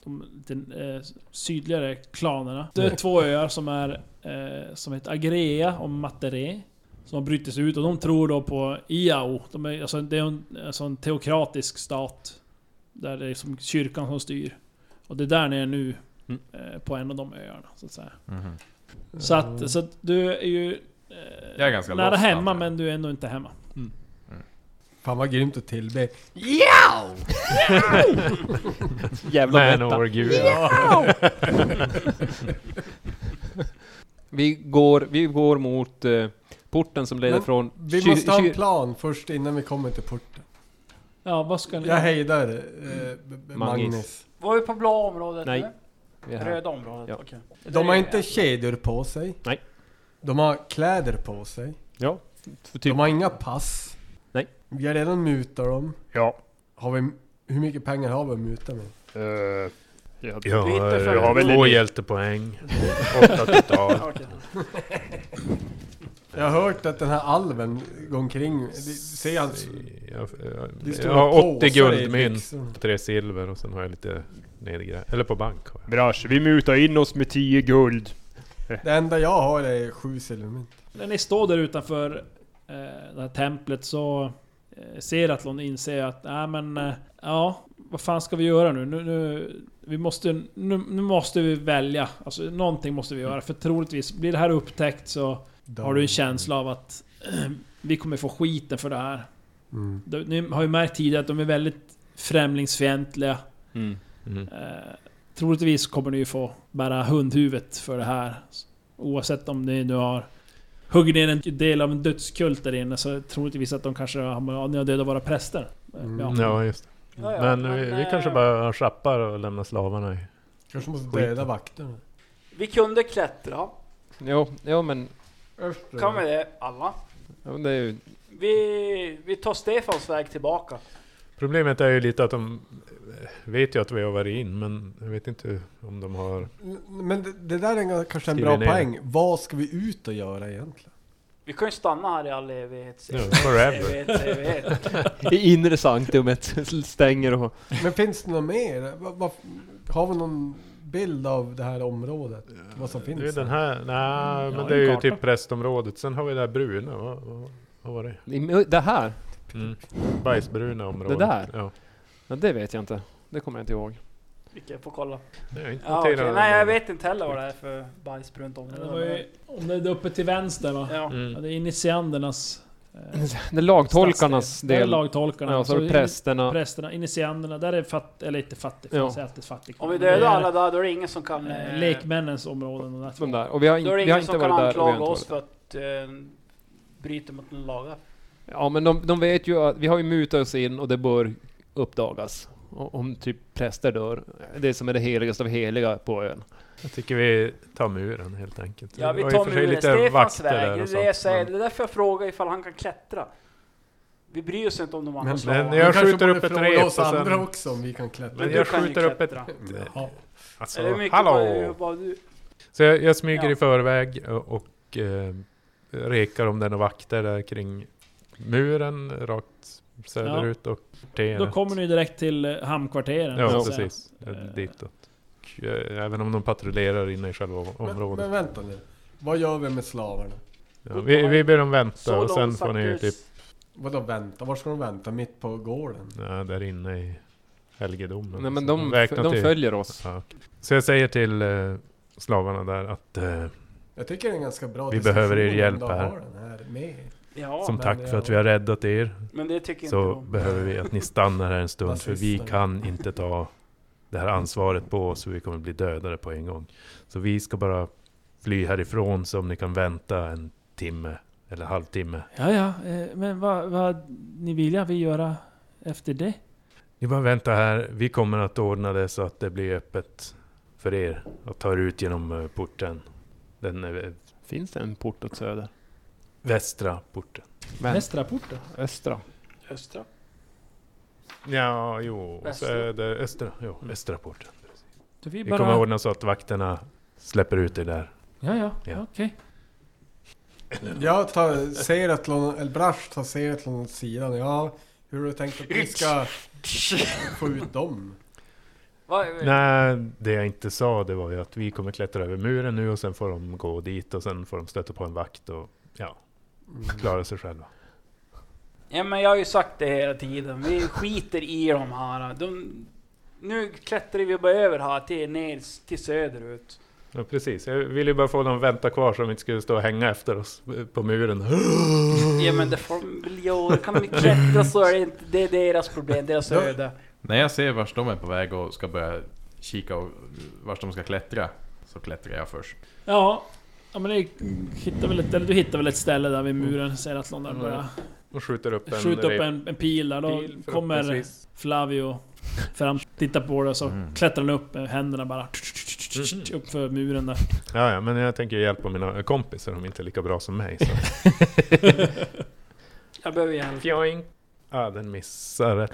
B: de lite eh, sydligare klanerna. Det
D: Mm.
B: är två öar som är eh, som heter Agrea och Materé. Som har brutits ut och de tror då på Iao. De är, alltså, det är en, alltså en teokratisk stat. Där det är som kyrkan som styr. Och det är där ni är nu.
C: Mm.
B: Eh, på en av de öarna så att säga.
D: Mhm.
B: Så att, så att du är ju... Eh,
D: Jag är ganska
B: nära
D: lost,
B: hemma
I: alltså.
D: antar jag.
B: men du är ändå inte hemma.
E: Fan vad grymt att tillbe.
C: Jävla mätta.
H: Manowar-gud.
C: Vi går, vi går mot eh, porten som leder
E: Men
C: från...
E: Vi
C: kyr-
E: måste ha en
C: kyr-
E: plan först innan vi kommer till porten.
B: Ja, vad ska ni...
E: Jag hejdar eh, B- B-
C: Magnus.
E: Magnus.
F: Var vi på blå området?
C: Nej.
F: eller?
C: vi är här.
F: Röda området?
C: Ja.
H: Mm.
F: Okej.
E: De har inte kedjor på sig.
C: Nej.
E: De har kläder på sig.
C: Ja. Typ.
E: De har inga pass.
C: Nej.
E: Vi har redan mutat dem.
G: Ja.
E: Har vi, hur mycket pengar har vi att muta med?
G: Eh, ja.
H: Jag har,
F: Byter för-
H: jag har väl två hjältepoäng. Åtta totalt.
F: Okej.
E: Jag har hört att den här alven går omkring. Det, ser han,
H: Jag, jag,
E: det är
H: jag
E: stora
H: har 80
E: påsar i
H: guldmynt,
E: byxorna.
H: tre silver och sen har jag lite nedgrävt. Eller på bank har jag.
G: Brash, vi mutar in oss med 10 guld.
E: Det enda jag har är sju silvermynt.
B: När ni står där utanför eh, det här templet så eh, ser Atlon inser att nej men eh, ja, vad fan ska vi göra nu? Nu, nu, vi måste, nu, nu måste vi välja. Alltså, någonting måste vi göra för troligtvis blir det här upptäckt så har du
E: Mm.
B: en känsla av att vi kommer få skiten för det här.
E: Mm.
B: De- Ni har ju märkt tidigare att de är väldigt främlingsfientliga.
C: Mm.
H: Mm.
B: Eh, troligtvis kommer ni ju få bära hundhuvudet för det här. Oavsett om ni nu har huggit ner en del av en dödskult där inne så troligtvis att de kanske har, ja, ni har dödat våra präster. Eh,
E: Mm.
B: Ja.
H: Ja, just det.
F: Ja, ja,
H: Men vi, vi
F: eh,
H: kanske bara schappar och lämnar slavarna i.
E: Kanske måste döda vakterna.
F: Vi kunde klättra.
C: Jo, jo, men...
F: Kan vi det, alla?
C: ja, men Det är ju,
F: Vi, vi tar Stefans väg tillbaka.
H: Problemet är ju lite att de eh, vet ju att vi har varit in, men jag vet inte om de har...
E: Men det, det där är en- kanske en
H: Skriver
E: bra
H: ner.
E: poäng. Vad ska vi ut och göra egentligen?
F: Vi kan ju stanna här i all evighet.
H: Ja, forever.
F: evighet, evighet.
C: I inre sanktumet stänger och...
E: Men finns det något mer? Va, va, har vi någon bild av det här området? Vad som
H: Det är ju
E: finns?
H: den här...
E: Mm.
H: Nej, men
B: en
H: det är ju
B: karta.
H: typ prästområdet. Sen har vi det här bruna. Vad, vad, vad var det?
C: Det här?
H: Mm. Bajsbruna området.
C: Det där?
H: Ja.
C: Ja, det vet jag inte. Det kommer jag inte ihåg.
F: Vi kan få kolla.
H: Det är inte
F: Ja,
H: noterat.
F: okej. Nej, jag vet inte heller vad det är för bajs runt om.
B: Det var ju, om det är uppe till vänster va?
F: Ja.
B: Ja,
H: Mm.
B: det är initiandernas... Eh,
C: Det är lagtolkarnas
B: stadsdel. Där är
C: del.
B: lagtolkarna.
C: Ja, så har du
B: in-
C: prästerna.
B: Prästerna, initianderna. Där är fatt, eller inte fattig,
C: Ja.
B: ja. finns alltid fattig.
F: Om vi
B: Det
F: dödar
B: är,
F: alla där, då är det ingen som kan...
B: Eh,
F: eh,
B: lekmännens områden och där.
C: De där. Och vi har, in,
F: Då är det
C: vi har
F: ingen
C: inte
F: som kan
C: varit där och vi har
F: anklaga
C: inte
F: oss
C: varit
F: för att eh, bryta mot några lagar.
C: Ja, men de, de vet ju att vi har ju mutat oss in och det bör uppdagas. Och Om typ präster dör. Det som är det heligaste av heliga på ön.
H: Jag tycker vi tar muren helt enkelt.
F: Ja, vi
H: Det var i och
F: tar
H: för sig
F: muren.
H: lite
F: Stefans
H: vakter
F: väg.
H: där och
F: Det är det jag
H: sånt,
F: säger.
H: men-
F: Det är därför jag frågar ifall han kan klättra. Vi bryr oss inte om de andra
E: Men-
H: Men
F: slavarna.
E: Vi
H: jag
E: kanske
H: skjuter
E: borde
H: upp ett
E: fråga
H: rep och
E: oss andra
H: sen...
E: också om vi kan klättra.
H: Men
F: du
H: jag
F: kan ju
H: skjuter upp ett-
F: klättra.
E: Ja.
F: Eller hur
H: Alltså,
F: mycket
H: hallå!
F: bara- bara du-
H: Så jag, jag smyger
F: Ja.
H: i förväg och, och eh, rekar om den och vakter där kring muren rakt söderut och kvarteret.
B: Då kommer ni direkt till eh, hamnkvarteren.
H: Ja,
B: så att säga.
H: precis.
B: Eh.
H: Ditåt. Och, eh, Även om de patrullerar inne i själva om-
E: Men, men
H: området.
E: vänta nu. Vad gör vi med slavarna?
H: Ja, vi, vi ber dem vänta och
F: långt
H: sen får
F: satt
H: ni ju
F: du-
H: typ...
E: Vadå vänta? Var ska de vänta? Mitt på gården?
H: typ- Ja, där inne i helgedomen.
C: Nej, men
H: Så
C: de,
H: räkna
C: de
H: till-
C: följer oss.
H: Ja. Så jag säger till eh, slavarna där att eh,
E: Jag tycker det är en ganska bra
H: Vi
E: diskussion
H: behöver er
E: om
H: hjälp
E: de
H: här.
E: har den här med.
F: Ja,
H: som
E: men
H: tack
E: det
H: för
E: är-
H: att vi har räddat er
F: men det tycker inte
H: så
F: de.
H: behöver vi att ni stannar här en stund för vi
E: Nazister.
H: kan inte ta det här ansvaret på oss för vi kommer bli dödade på en gång. Så vi ska bara fly härifrån så om ni kan vänta en timme eller halvtimme.
B: Ja, ja, eh, men vad, vad ni vill jag vill göra efter det?
H: Ni bara vänta här, vi kommer att ordna det så att det blir öppet för er att ta er ut genom eh, porten. Den eh,
C: Finns det en port åt söder?
H: västra porten.
C: Men,
B: Västra porten?
C: östra?
I: Östra?
H: Ja, jo,
F: Västra. Mm.
H: söder, östra, jo, östra porten.
B: Så vi
H: Vi kommer att
B: bara...
H: ordna så att vakterna släpper ut er där.
B: Ja, ja,
H: Ja.
B: okej.
E: Jag tar Seratlon, eller Brash tar Seratlon åt sidan. Ja, hur har du tänkt att vi ska få ut dem?
F: Vad,
H: Nej, det jag inte sa det var ju att vi kommer klättra över muren nu och sen får de gå dit och sen får de stöta på en vakt och ja, Mm. klara sig själva.
F: Ja men jag har ju sagt det hela tiden. Vi skiter i de här. De, nu klättrar vi bara över här till ner s- till söderut.
H: Ja, precis. Jag ville ju bara få dem att vänta kvar så de inte skulle stå och hänga efter oss på muren.
F: Ja men det får de väl göra. Kan de klättra så är det inte... Det är deras problem, deras
E: Ja.
F: öde.
I: När jag ser vars de är på väg och ska börja kika och vars de ska klättra, så klättrar jag först.
B: Ja, ja men det hittar väl ett, eller du hittar väl ett ställe där vid muren, säger att någon där
H: Mm.
B: börjar
H: Och skjuter upp en...
B: skjuta upp
H: rep-
B: en, en pil där. Då
H: pil,
B: kommer
H: förhoppningsvis. Mm.
B: Flavio fram, tittar på det och så klättrar han upp med händerna bara. Upp för muren där.
H: Ja, ja, men jag tänker hjälpa mina kompisar, de är inte lika bra som mig. Så.
F: Jag behöver hjälp.
H: Fjoing! Ja, den missar rätt.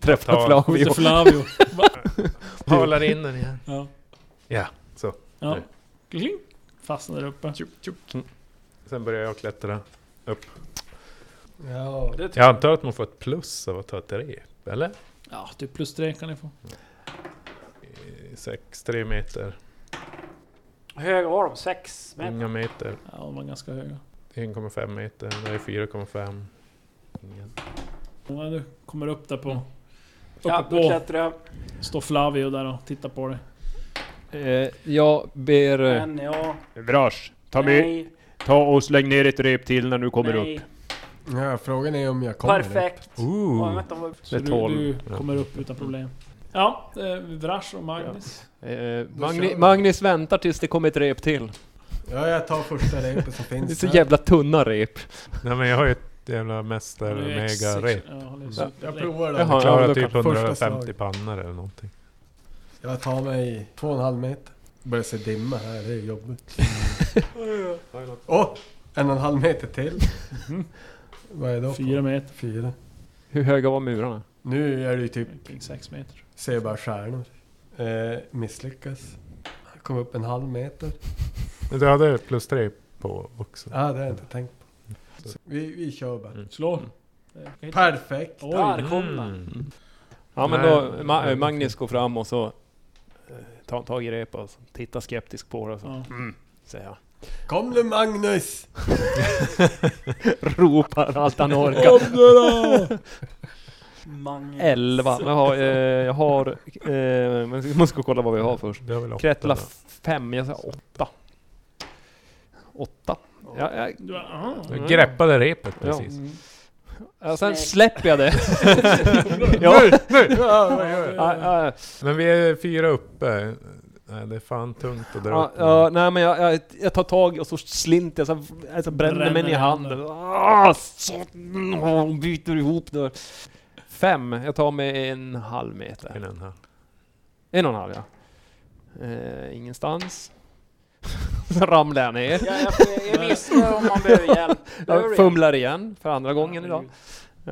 C: Träffar
H: Ta-
B: Mr
C: Flavio.
B: Flavio.
H: Halar in den igen.
B: Ja.
H: Ja, så.
B: Ja.
H: Nu.
B: Kling. Fastnar där uppe.
H: Sen börjar jag klättra.
E: Ja,
F: Det
H: Jag antar att man får ett plus av att ta ett rep, eller?
B: Ja, typ plus tre kan ni få.
H: Eh, Sex, tre meter,
F: Hur höga var de? Sex meter?
H: inga meter,
B: Ja, de var ganska höga.
H: 1,5 meter, det är 4,5. Ingen.
B: Ja, du kommer upp där
H: Mm.
B: på...
F: Ja,
B: Uppe
F: då
B: på
F: klättrar jag.
B: står Flavio där och tittar på dig.
C: Eh, jag ber... eh,
F: En, ja.
G: Brash, ta, med,
F: Nej.
G: ta och släng ner ett rep till när du kommer
F: Nej.
G: upp.
E: ja frågan är om jag kommer.
F: Perfekt. Ja, vänta, vad-
B: Så
C: Det är
B: du,
C: tolv.
B: du kommer upp utan problem. Ja, eh, Vrash och Magnus.
C: Eh,
E: kör
C: Magni,
E: vi.
C: Magnus väntar tills det kommer ett rep till.
E: Ja, jag tar första repet som
C: Det är
E: finns.
C: så jävla tunna rep.
H: Nej men jag har ju ett jävla
B: Han är ju ex-
H: mästar-mega-rep.
B: Ja, han är ju
E: Jag
B: superlek.
E: provar
C: Jaha.
E: då.
H: Jag
C: Ja,
H: klarar
C: då
H: typ
E: kan- första slag.
H: 150 pannor eller någonting.
E: Jag tar mig två och en halv meter. Börjar se dimma här, det är jobbigt. Åh! en och en halv meter till.
H: Mhm.
E: Vad är det då?
B: Fyra meter.
E: Fyra.
C: Hur höga var murarna?
E: Nu är det ju typ,
B: Kring sex meter.
E: ser jag bara stjärnor. Eh, misslyckas. Kom upp en halv meter.
H: Men Du hade plus tre på också. Mm.
E: Ah, det har jag inte tänkt på. Så Vi, vi kör bara.
B: Slå. Per-
E: Perfekt!
B: Mm. Oj,
F: Där kom den.
H: Mm.
C: Ja men
H: Nej,
C: då, Ma eh,
H: nej,
C: Magnus går fram och så eh, tar han tag i repet och så tittar skeptisk på det och så
B: Ja.
C: mm, säger han.
E: Kom nu Magnus!
C: Ropar allt han orkar.
B: Kom nu då!
C: Mm.
F: Magnus.
C: Elva. Jag har, eh, jag har eh, men jag måste gå och kolla vad vi har först.
H: Det var väl åtta
C: Kretla
H: då.
C: fem, jag sa åtta. Åtta. Ja, jag,
B: Du, bara, aha.
C: Mm.
H: Jag greppade repet
C: Ja.
H: precis.
C: ja, sen
F: Snyggt.
C: släpper jag det. ja.
B: Ja,
C: Ja,
B: ja.
C: ja,
H: Men vi är fyra uppe. Nej, det är fan tungt att dra
C: ja,
H: upp.
C: ja, nej men jag, jag, jag tar tag och så slinter jag, så, alltså bränner mig i
B: Bränner
C: handen. Ah, så, mm, byter ihop då. Fem, jag tar mig en halv meter.
H: den här.
C: En och en halv ja. Eh, ingenstans. Så ramlar jag ner.
F: Ja, jag, jag visste om man behöver hjälp. Behöver du
C: Jag fumlar igen för andra gången idag.
F: Ska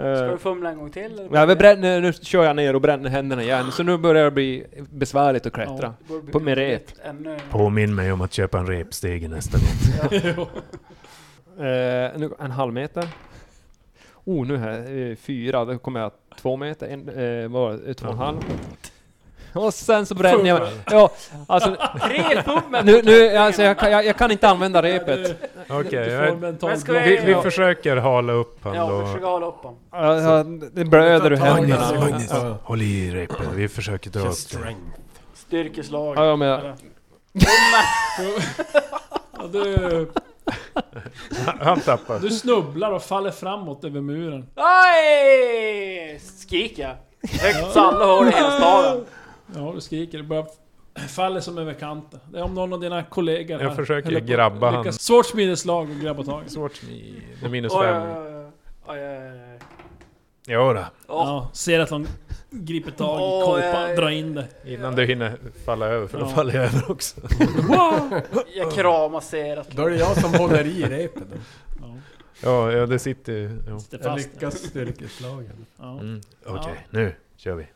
C: Eh,
F: du fumla en gång till? eller?
C: ja, vi bränner, nu kör jag ner och bränner händerna igen, så nu börjar det bli besvärligt att klättra.
F: Det borde bli
C: På med rep.
F: Ännu...
H: Påminn mig om att köpa en repstege nästa gång.
C: Eh, nu, en halv meter. Oh, nu här, eh, fyra, då kommer jag två meter, en, eh, vad var det, två och en halv. Och sen så bränner jag mig. Ja, alltså,
F: Tre fummel!
C: nu, nu, alltså jag, kan- jag, jag kan inte använda repet.
H: Okej,
B: Du
H: jag-
B: får mental
F: Men ska
B: block.
F: vi-
H: vi, vi
F: Ja.
H: försöker hala upp han
F: Ja,
H: då.
F: försöka hålla upp honom.
C: Ja, ja, Alltså, Det blöder ur händerna.
E: Magnus, Magnus.
H: Ja. Håll i repet, vi försöker dra upp det.
F: Styrkeslag.
C: Ja, ja, men jag,
B: Ja, du,
H: Han tappar.
B: du snubblar och faller framåt över muren.
F: Aj! Skriker jag. Högt så alla hör det i hela staden.
B: Ja, du skriker. Du börjar faller som över kanten. Det är om någon av dina kollegor
H: Jag
B: här
H: försöker
B: höll på att
H: grabba
B: lyckas-
H: han.
B: Svårt smideslag och grabba tag i.
H: Svårt med med minus
F: Oj,
H: fem.
F: oj, oj, oj, oj, oj.
H: Ja, då.
B: Ja, ser att de griper tag i
F: Åh,
B: kåpan,
F: eh,
B: drar in det.
H: Innan du hinner falla över, för då
B: Ja.
H: faller jag över också.
F: Jag kramar Serat.
E: Då är det jag som håller i repet. då.
H: Ja, ja det sitter ju... Ja.
B: Sitter
E: Jag
B: fast.
E: lyckas styrkeslagen.
B: Ja.
H: Mm. Okej,
B: Ja.
H: nu kör vi.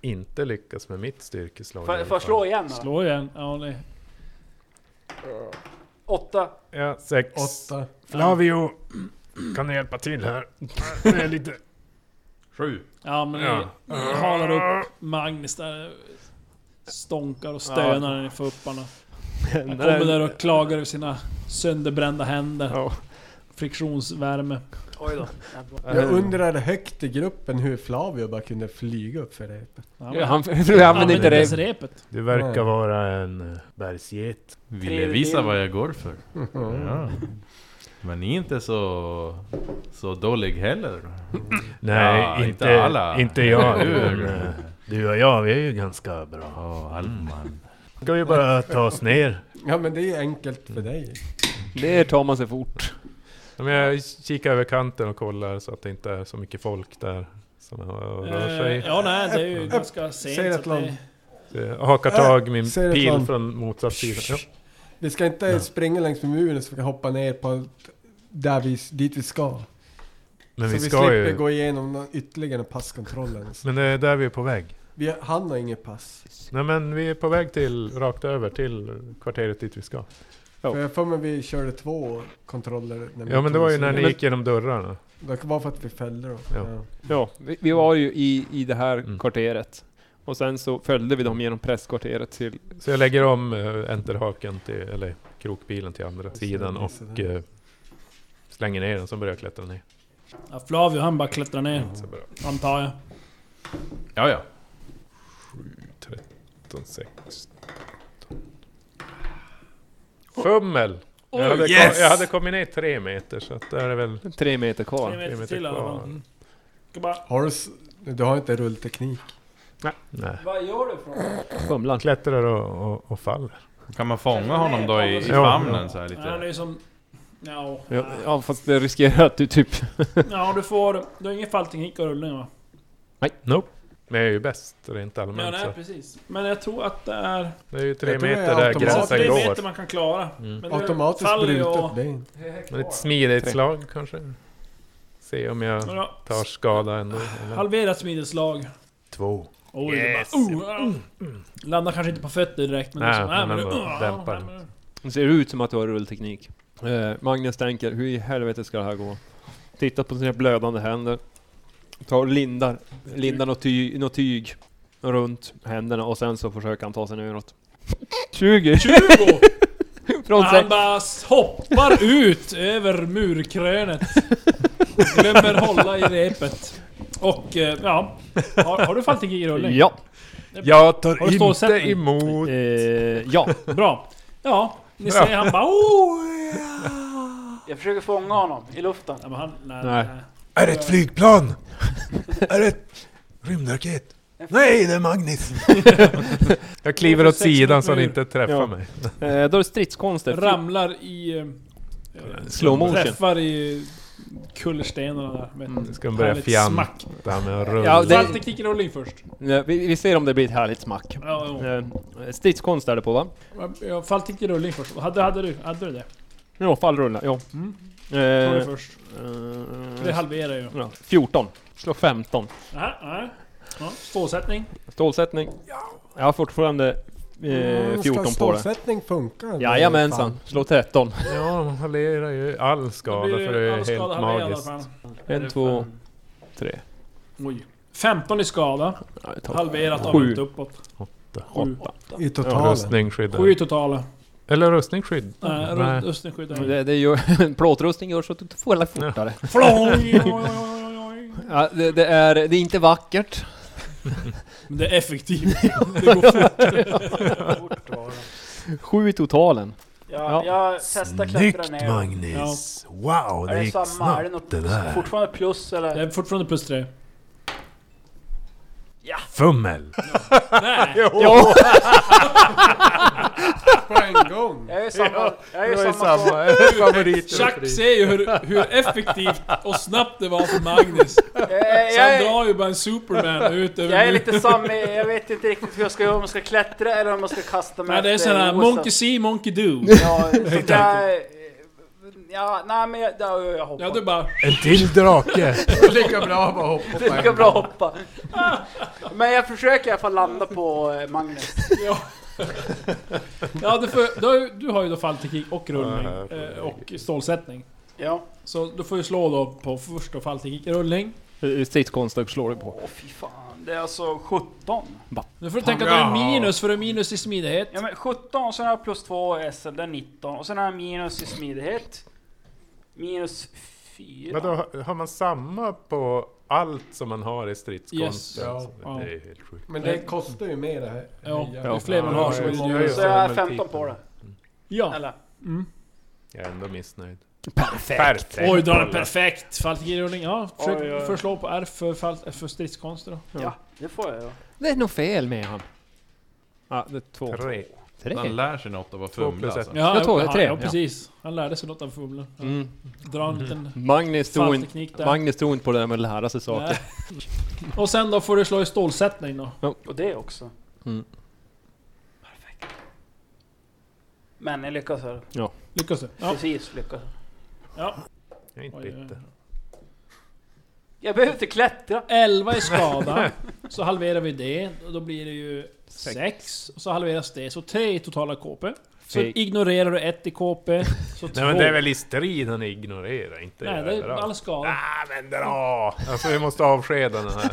H: Inte lyckas med mitt styrkeslag. i
F: Får
H: alla
F: får jag
H: fall.
F: slå igen då?
B: Slå igen. Ja, det.
F: Åtta.
H: Ja, sex.
E: Åtta.
H: Flavio, kan du hjälpa till här? Det är lite...
I: Sju.
B: ja men
H: Ja.
B: ni, ni halar upp Magnus där. Stånkar och stönar när ni får upp honom. Han kommer där och klagar över sina sönderbrända händer.
C: Ja.
B: Friktionsvärme.
F: Oj då.
E: Jag undrar högt i gruppen hur Flavio bara kunde flyga upp för repet.
B: Ja,
C: Ja,
B: men-
C: han jag använder inte
B: ens
C: det.
B: repet.
H: Du verkar
B: Mm.
E: Nej.
H: vara en eh, bergsget.
I: Ville visa vad jag går för.
E: Mhm.
I: Ja. Men ni är inte så, så dålig heller.
H: Nej,
I: Ja,
H: inte,
I: inte alla.
H: Inte jag.
I: Hur?
H: men, eh, du och jag, vi är ju ganska bra.
I: Ja, Alman.
H: Ska vi bara ta oss ner?
E: Ja men det är ju enkelt
H: Mm.
E: för dig.
C: Det tar man sig fort.
H: Ja, men jag kikar över kanten och kollar så att det inte är så mycket folk där som har- rör sig.
B: Eh, Ja, nej, det är ju ganska
E: Säg
B: sent.
E: det
B: så att
E: till honom.
B: det,
H: Så jag hakar tag i
B: Eh,
H: min
E: Säg det till
H: pil
E: honom.
H: från motsatt sida. Ja.
E: Vi ska inte springa längs med muren så vi kan hoppa ner på där vi, dit vi ska.
H: Men
E: så
H: vi
E: vi
H: ska
E: slipper
H: ju...
E: gå igenom någon ytterligare passkontroll ens.
H: Men det är där vi är på väg.
E: Vi, han har inget pass.
H: Nej men vi är på väg till, rakt över till kvarteret dit vi ska.
C: Ja.
E: För jag får mig vi körde två kontroller. När vi
H: Ja men det
E: tog
H: var
E: oss
H: ju när
E: in.
H: ni gick genom dörrarna.
E: Det var för att vi fällde dem.
H: Ja.
E: Ja.
C: Ja, vi, vi var ju i, i det här
H: Mm.
C: kvarteret. Och sen så följde vi dem genom presskvarteret till...
H: Så jag lägger om eh, enterhaken, till, eller krokbilen till andra sidan
E: så
H: och
E: där.
H: eh, slänger ner den, så börjar jag klättra ner.
B: ja, Flavio han bara klättrar ner,
H: Så bra.
B: antar jag.
I: Ja, ja.
H: 13, 16. Fummel! jag, hade
I: yes!
H: kom, jag hade kommit ner tre meter så att där är det väl
C: Tre meter kvar.
B: Tre
H: tre
B: meter
H: meter
B: till i alla fall. Mm.
H: kvar.
B: Ska bara-
E: Har du, s- du har inte rullteknik?
H: Nej.
F: Vad gör du för något?
C: Fumlan.
H: Klättrar och, och, och faller.
I: Kan man fånga honom då i, i
H: Ja.
I: famnen så här
B: Nej, Han är
I: lite?
B: ju som... Ja,
C: Ja, ja, fast det riskerar att du typ...
B: ja du får... Du har ingen fallteknik och rullning va?
H: Nope. Men jag är ju bäst rent
B: Ja,
H: allmänt
B: nej,
H: så.
B: precis. Men jag tror att det är...
H: Det är ju tre
E: Jag tror det är
H: meter där
E: automatiskt.
B: Ja,
H: gränsen
B: det är meter
H: går.
B: man kan klara.
H: Mm.
B: Men du
E: Automatiskt
B: faller ju
E: brutet
B: och-
E: ben.
H: Men ett smidighetsslag kanske? Se om jag
B: Ja,
H: tar skada ändå. Eller?
B: Halverat smidelslag.
H: Två.
B: Oj,
H: Yes.
B: det bara, oh, ah. Landar kanske inte på fötter direkt men det
H: Nej,
B: är som, nej,
H: men
B: men du,
H: ändå
B: ah,
H: dämpar
B: nej, men du-
C: Det ser ut som att du har rullteknik. Eh, Magnus tänker, hur i helvete ska det här gå? Tittar på sina blödande händer. Tar och lindar, lindar något tyg, något tyg runt händerna och sen så försöker han ta sig neråt. 20!
B: 20!
C: Från sex.
B: Han bara hoppar ut över murkrönet. Glömmer hålla i repet. Och eh, ja, har, har du fallteknik i rullning?
C: Ja!
H: Jag tar
B: Har du
H: inte
B: stålsättning?
H: emot...
C: Eh, ja!
B: Bra. Ja, ni ser han bara oh, ja.
F: Jag försöker fånga honom i luften.
B: Nej, men han, nej,
C: Nej.
B: nej.
H: Är det ett flygplan? är det ett rymdraket? Nej, det är Magnus! jag kliver åt
B: Sex mot
H: sidan så han
B: mur.
H: inte träffar
C: Ja.
H: mig.
C: Eh, då är det stridskonster.
B: Ramlar i... eh,
C: Slow motion.
B: Träffar i kullerstenarna där. Med
C: Mm.
H: Nu ska han börja
B: härligt
H: fjanta
B: Smack.
H: med att rulla.
C: Ja, det-
B: Fallteknik i rullning först.
C: Eh, Vi, vi ser om det blir ett härligt smack.
B: Ja, ja.
C: Eh, stridskonst är det på va?
B: ja. Fallteknik i rullning först. Hade, hade, du, hade du det?
C: Ja, fallrulla, ja.
B: Mm. Ta det
C: Eh,
B: först. Det
C: eh,
B: halverar ju.
C: ja, 14. Slå 15.
B: Aha, aha. Ja, stålsättning.
C: Stålsättning. Jag har fortfarande eh, 14
E: Mm, ska
C: på det.
E: stålsättning funka?
C: Jajamensan,
E: Fan.
C: slå 13.
H: Ja, man halverar ju all
B: Då
H: skada
B: blir
H: för det
B: all
H: är
B: skada
H: helt
B: halverad i alla
H: magiskt.
B: fall.
C: En, två, tre.
B: Oj. 15 i skada.
C: Ja, jag tar
B: Halverat av
C: Sju.
B: inte uppåt.
C: åtta.
B: Sju.
E: I
H: Ja,
E: totalen.
H: rustning skyddar.
B: Sju i totala.
H: Eller rustning skydd.
B: Nej,
H: Nej.
B: runt östen skyddar.
C: Det, det gör, plåtrustning gör så att du får alla fortare.
B: Flång! Oj, oj, oj, oj, oj.
C: Ja, det, det, är, det är inte vackert.
B: Men det är effektivt. Det går fort.
F: Fort var det.
C: Sju i totalen.
F: Ja, jag testar klättra ner.
B: Magnus.
H: Wow,
F: Är det samma? Är det något fortfarande plus
B: Det
F: eller?
B: är fortfarande plus tre.
H: Fummel!
B: Nej,
E: På en gång!
F: Jag är samma... Jag är samma, som-
B: Chuck ser ju hur, hur effektivt och snabbt det var för Magnus. Så
F: jag, jag,
B: han
F: jag,
B: drar ju bara en Superman ut över
F: jag är
B: nu.
F: lite samma, jag vet inte riktigt hur jag ska göra, om jag ska klättra eller om jag ska kasta mig
B: Nej, det är
F: efter
B: sån här
F: rosa.
B: Monkey See, Monkey Do.
F: Ja, sånt där... Ja, nej men jag, ja, jag hoppar.
B: Ja, du bara...
H: En till drake!
E: Lika bra att bara hoppa på
F: Det
E: en
F: lika
E: gång.
F: bra att hoppa. Men jag försöker i alla fall landa på eh, Magnus.
B: Ja, du, får, du, har ju, du har ju då fallteknik och rullning. eh, Och stålsättning.
F: Ja.
B: Så du får ju slå då på först och fallteknik, rullning.
C: Stridskonstök slår du på.
F: Åh fy fan. Det är alltså 17.
B: Nu får du tänka att du har minus, för du är minus i smidighet.
F: Ja men 17 och sen har jag plus 2 SL, det är 19. Och sen har jag minus i smidighet. Minus 4.
H: Vadå, har- har man samma på allt som man har i stridskonsten?
E: Yes.
H: Så Det är helt sjukt.
E: Men det kostar ju mer det här.
B: Ja,
E: nya.
B: ju fler man har så är det
H: Ja,
B: ju...
H: just
F: Så jag är
H: det,
F: 15 på det.
B: Ja.
F: Eller?
H: Jag är ändå missnöjd.
C: Perfekt!
B: Oj, då är det perfekt! Fallteknikrullning, ja. Försök
F: Oj, oj.
B: försök slå på R för, fall- för stridskonster då.
F: Ja, det får jag då.
C: Det är nog fel med han. Ja, det är två.
H: Tre.
C: Tre.
I: Han lär sig något av att
H: Två
I: fumla
H: plus ett.
I: alltså.
B: Ja,
C: Jag tror det är
B: ja,
C: tre,
B: Ja,
C: ja.
B: precis. Han lärde sig något av fumlen. Ja.
C: Mm.
B: Dra en liten
C: Magnus tror inte
B: fallteknik där.
C: Magnus tror inte på det där med att lära sig saker.
B: Nej. Och sen då får du slå i stålsättning då.
F: Och det också.
C: Mm.
F: Perfekt. Men jag lyckas här.
B: Lyckas du? Ja.
F: Precis lyckas.
B: ja.
H: Jag är inte
B: Oj, oj, oj.
H: bitter.
F: Jag behöver inte klättra.
B: 11 i skada. så halverar vi det. Och då blir det ju 6. Och så halveras det. Så 3 i totala KP. Så
C: Fake.
B: ignorerar du 1 i KP. Så 2.
H: Nej men det är väl i strid han ignorerar, inte
B: Nej, det är
H: överallt.
B: all skada.
H: Ah, men dra! Alltså vi måste avskeda den här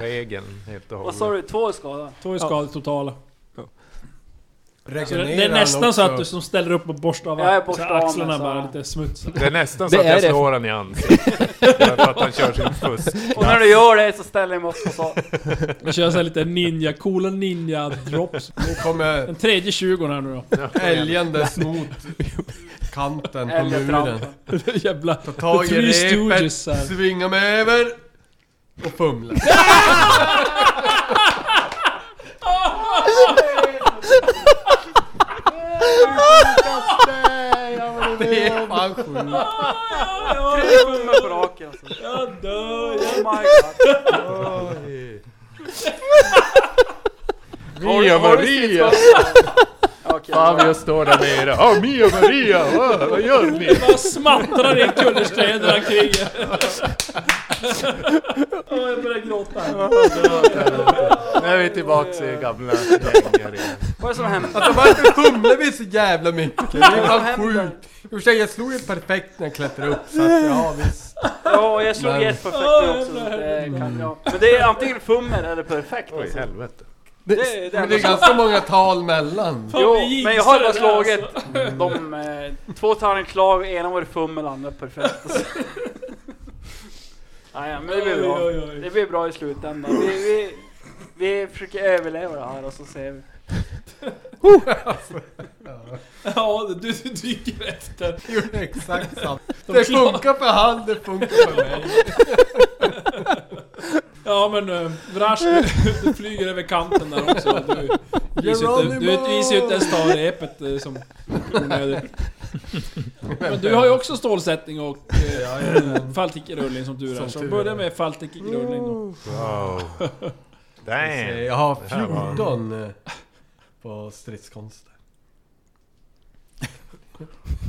H: regeln helt och
F: Vad sa
H: hållet.
F: du? Två i skada?
B: 2 i skada i totala. Så
E: Regenerar
B: det det är
E: han
B: nästan så
E: också?
B: att du som ställer upp och borstar av
F: Ja, jag
B: så
F: borstar av mig
B: axlarna
F: så
B: bara
F: här.
B: lite smuts.
H: Det är nästan
C: Det
H: så att jag
C: är det.
H: slår honom i ansiktet. Bara för att han kör sin fusk.
F: Och när du gör det så ställer jag mig upp och så.
B: Jag kör såhär lite ninja, coola ninja drops.
E: Nu kommer
B: Den tredje 20 här nu då.
E: älgandes mot kanten på
F: Eller
E: muren.
F: trampa.
B: Jävla...
E: Ta tag i
B: Three
E: repet,
B: Stooges här.
E: svinga mig över och fumla. Det är fan sjukt.
F: Tre tummar på raken alltså.
B: Jag dör!
F: Oh my god.
H: Mia Maria!
F: Okej.
H: Fabio står där nere. Ja, Mia Maria! Vad, vad gör ni?
B: Bara smattrar i kullerstenen kring Åh, jag börjar gråta här.
H: Nu är vi tillbaks i gamla gängar igen.
F: Vad är det som händer?
E: Alltså varför fumlar vi så jävla mycket? Det är
F: Vad
E: fan
F: händer?
E: sjukt. I och för sig, jag slog ju perfekt när jag klättrade upp så att ja visst.
F: Ja, jag slog
E: Men-
F: i ett perfekt nu också. så Det kan jag. Men det är antingen fummel eller perfekt.
H: Oj,
F: Alltså.
H: helvete.
F: Det, det,
E: Men det är
F: enda som-
E: ganska många tal mellan.
F: Jo, men jag har bara slagit de eh, två tärningsslag, ena var det fummel, andra perfekt. Alltså. Nej, men det blir bra. Det blir bra i slutändan. Vi, vi, vi försöker överleva det här och så ser vi.
B: Ja, du, du dyker efter.
E: Jag gjorde exakt samma.
B: De
E: Det
B: klarar-
E: funkar för han, det funkar för mig.
B: Ja men uh, Vrash, du, du flyger över kanten där också. Du, du visar ju inte- du visar ju inte ens ta repet eh, som onödigt. Men du har ju också stålsättning och uh, faltikrullning som tur är.
E: Som tur
B: Så
E: är.
B: börja med faltikrullning då.
H: Wow. Damn.
E: Jag har
H: här var-
E: 14 eh, på stridskonster.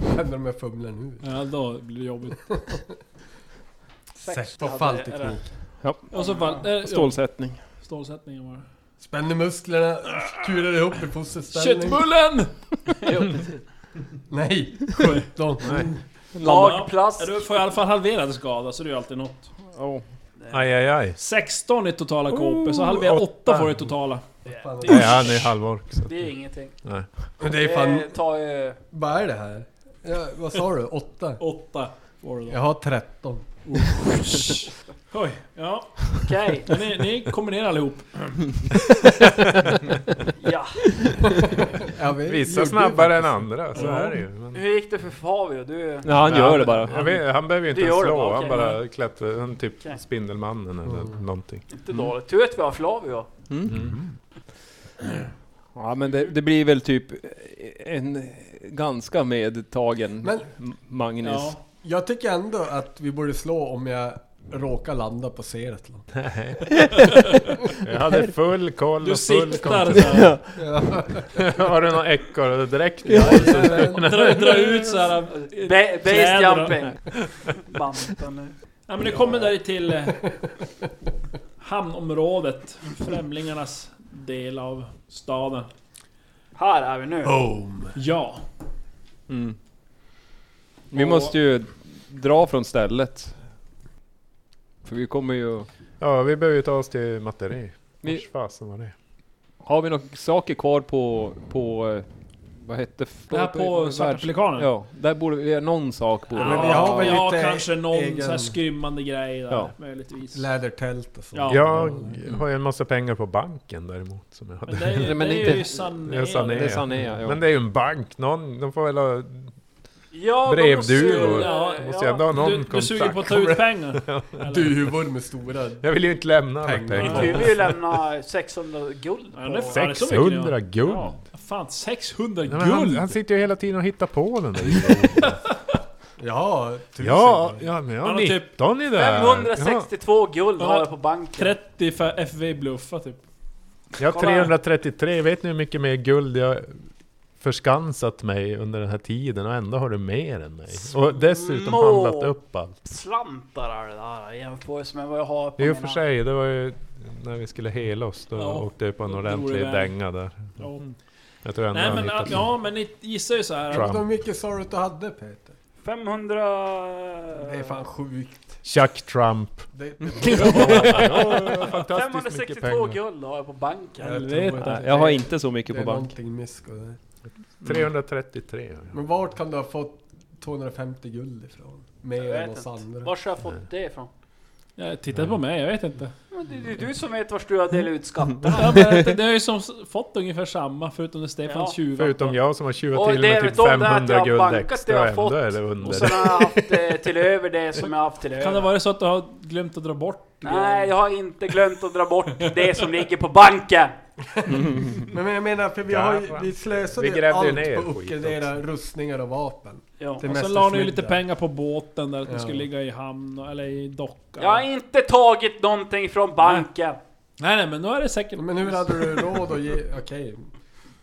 E: Vad händer om jag fumlar nu?
B: Ja, då blir det jobbigt.
F: Sex.
E: På fallteknik.
B: Och så fall, eh, ja,
C: Stålsättning.
B: stålsättningen var det.
E: Spänner musklerna, kurar ihop i fosterställning.
B: Köttbullen!
E: Nej! 17.
F: Magplast.
B: Ja, du får i alla fall halverad skada, så det är ju alltid något.
C: Oh.
H: Aj, aj, aj.
B: 16 i totala KP, så halvera 8 får du i totala.
E: Fan,
H: Nej, han är halvork. så att-
F: Det är ingenting. Eh,
E: Men det är
F: Det
E: fan...
F: tar ju...
E: Vad är det här? Ja, vad sa du? 8?
B: 8. Får du då.
E: Jag har 13.
B: Oj, ja.
F: Okej,
B: Men Ni, ni kombinerar allihop.
F: ja.
E: Jag vet,
H: Vissa
E: gjorde
H: snabbare
E: ju
H: än andra, så är det ju. Men...
F: Hur gick det för Fabio? Du...
C: Ja, han gör det bara.
H: Jag vet, han behöver ju inte
F: Det
H: ens
F: gör det
H: slå,
F: bara,
H: han
F: okej.
H: bara klättrar, han typ
F: Okej.
H: Spindelmannen eller
C: Mm.
H: någonting.
F: Inte
E: Mm.
F: dåligt. Tur att vi har Flavio.
C: Ja, men det, det blir väl typ en ganska medtagen
E: Men-
C: M- Magnus.
B: Ja.
E: Jag tycker ändå att vi borde slå om jag råkar landa på Seratlon.
H: Jag hade full koll
B: Du
H: och full
B: siktar
H: kontroll.
B: såhär.
H: Har du någon ekorrdräkt?
B: Dra, dra ut såhär.
F: Ba- base
B: Kläder då.
F: jumping. Banta nu.
B: Ja men ni kommer där till eh, hamnområdet. Främlingarnas del av staden.
F: Här är vi nu.
H: Oh.
B: Ja.
C: Mm. Vi måste ju dra från stället. För vi kommer ju...
H: Ja, vi behöver ju ta oss till Materi.
C: Vi-
H: Vars fasen var det?
C: Har vi några saker kvar på... på eh, vad hette...
B: Det här på Svarta
C: världs-
B: Pelikanen?
C: Ja, där borde vi... Någon sak borde
B: Ja,
C: vi
E: Men vi har väl
B: vi har
E: lite
B: kanske någon
E: egen-
B: så här skrymmande grej där,
C: Ja.
B: möjligtvis.
E: Lädertält och så.
B: Ja.
H: Jag har ju en massa pengar på banken däremot. Som jag
B: Men
H: hade.
B: det är,
C: Men
B: det är
C: inte-
B: ju sanerat.
H: Det är sanerat.
C: Det är Sanea, ja.
H: Men det är ju en bank, någon, de får väl ha...
F: Ja,
H: Brevduvor.
B: Ja,
H: Måste jag ändå ha någon
B: Du, du suger
H: kontakt?
B: på att ta ut pengar? eller?
E: Duvor med stora...
H: Jag vill ju inte lämna alla
E: Pengar.
F: Inte
H: pengar.
F: vill vi ju lämna 600 guld
B: Ja, det är
F: på...
B: fan-
H: 600 guld!
B: Ja, fan 600
H: Nej, men han,
B: guld!
H: han sitter ju hela tiden och hittar på den där idén.
E: Ja, tusen.
H: ja, ja, men jag
B: Han
H: har
B: har typ
H: 19 i det här.
F: 562 guld har jag på banken.
B: 30 för FV bluffa typ.
H: Ja, jag har 333, vet ni hur mycket mer guld jag förskansat mig under den här tiden och ändå har du mer än mig. Och dessutom
F: Små.
H: handlat upp allt.
F: Slantar är det där i jämförelse med vad jag har på
H: I och
F: mina...
H: för sig, det var ju när vi skulle hela oss, då
B: Ja,
H: åkte jag på en
B: då drog
H: ordentlig
B: det iväg.
H: dänga där.
B: Ja.
H: Jag tror ändå
B: Nej
H: han
B: men
H: hittade
B: ja, men ni gissar ju så här.
H: Trump.
E: Hur mycket sa du att du hade Peter?
F: 500...
E: Det är fan sjukt.
H: Chuck Trump!
B: Mm.
E: Det,
H: Fantastiskt mycket
F: 562
H: pengar.
F: guld har jag på banken.
C: Helvete. Jag har inte så mycket
E: det
C: på
E: är
C: bank.
E: någonting mysko där.
H: 333
B: Mm.
H: har jag.
E: Men vart kan du ha fått 250 guld ifrån? Mer
F: Jag vet
E: än oss
F: inte.
E: andra.
F: Var har jag fått det ifrån?
B: Jag tittar på mig, jag vet inte.
F: Men det det är du som vet vart du har delat ut skatterna.
B: Ja, men det, det har ju som s- fått ungefär samma förutom det Stefan
F: Ja.
B: tjuva.
H: Förutom jag som har tjuvat
F: Och
H: till
F: det
H: med
F: är
H: typ
F: de där att jag
H: 500
F: har
H: guld
F: bankat det jag
H: extra,
F: har
H: ändå
F: fått.
H: är det under.
F: Och sen har jag haft eh, till över det som jag har haft till
B: Kan det
F: över.
B: vara så att du har glömt att dra bort
F: Nej, jag har inte glömt att dra bort det som ligger på banken.
E: Men, men jag menar, för vi, har ju, vi slösade
H: Vi
E: ju
H: grävde
E: allt
H: ju ner
E: på att
H: skit
E: uppgradera rustningar och vapen.
F: Ja.
E: Till
B: Och sen
E: mästers
B: la ni ju lite
E: middag.
B: pengar på båten där att ni
E: Ja.
B: skulle ligga i hamn och- eller i dockan.
F: Jag har inte tagit någonting från banken.
B: Nej nej men nu är det säkert...
E: Men hur hade du råd att ge... Okej.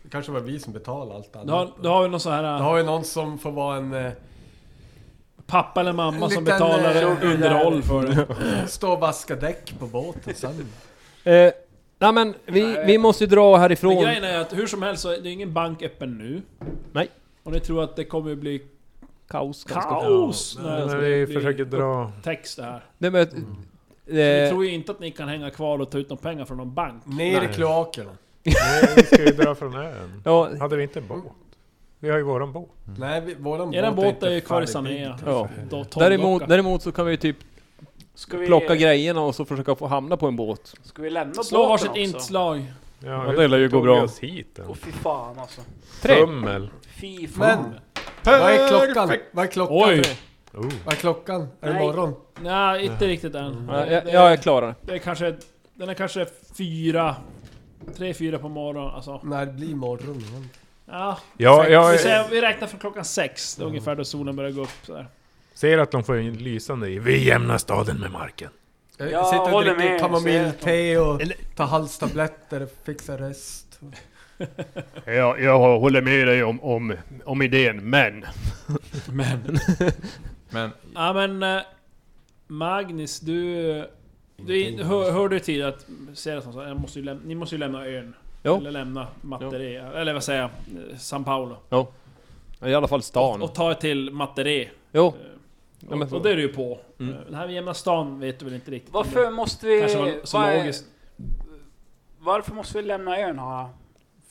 E: Det kanske var vi som betalade allt annat.
B: Du har, du har ju någon sån
E: Då
B: här äh,
E: har vi någon som får vara en... eh,
B: pappa eller mamma som
E: Liten,
B: betalar
E: eh,
B: underhåll för det.
E: Stå och vaska däck på båten sen.
C: Eh, nej men vi, vi måste ju dra
B: Men
C: härifrån.
B: grejen är att hur som helst så är det ingen bank öppen nu.
C: Nej.
B: Och ni tror att det kommer att bli
C: Kaos. ganska-
B: kaos alltså
H: Men
B: det
H: vi
B: blir
H: försöker dra...
B: Text det här.
C: Nej, men,
B: Vi
C: eh,
B: tror ju inte att ni kan hänga kvar och ta ut någon pengar från någon bank.
E: Ner i
H: Nej.
E: kloakerna.
H: Nej, vi ska ju dra från ön.
C: ja,
H: Hade vi inte en båt? Vi har ju våran båt.
E: Nej, vi, våran
B: Er
E: båt
B: båt är ju
E: inte
B: kvar i
E: färdigbyggd.
B: Sanea.
C: ja.
B: Då
C: Däremot, däremot så kan vi ju typ
F: Ska vi,
C: plocka grejerna och så försöka få hamna på en båt.
F: ska vi lämna
B: Slå
F: båten
B: varsitt
F: också?
B: inslag.
H: Ja,
C: det lär ju gå
H: tog
C: bra.
H: vi oss hit
F: Åh
H: än?
F: fy fan alltså.
H: Fummel.
F: Fy fan.
E: Men! Vad är klockan? Vad är klockan?
B: Oj!
H: Oh.
E: Vad är klockan? Är det
F: Nej.
E: morgon?
B: Nej, inte riktigt än.
C: Ja,
B: Det-
C: jag, jag är klar.
B: Det är kanske... Den är kanske fyra... Tre, fyra på morgonen alltså.
E: När det blir morgon? igen.
B: Ja,
H: Ja,
B: vi,
H: jag
B: säger, vi räknar från klockan sex. Det är ungefär då solen börjar gå upp. Så där.
H: ser att de får en lysande i. Vi jämnar staden med marken.
E: Jag
F: Jag
E: sitter och
F: håller
E: dricker
F: med,
E: kamomillte och tar halstabletter och fixar rest.
G: Jag, jag håller med dig om, om, om idén, men...
B: Men...
I: Men
B: Ja men... eh, Magnus, du... du hör, hör du till att... Säger att han sa, jag måste ju lämna, ni måste ju lämna ön.
C: Jo.
B: Eller lämna Matteré. Eller vad säger jag? eh, San Paolo.
C: I alla fall stan.
B: Och ta er till Matteré.
C: Jo. Ja,
B: Och,
C: men så-
B: och det är du ju på.
C: Mm.
B: Eh, Det här med jämna stan vet du väl inte riktigt. om
F: Varför måste
B: det
F: vi...
B: Kanske var så
F: vad är-
B: logiskt.
F: Varför måste vi lämna ön har jag?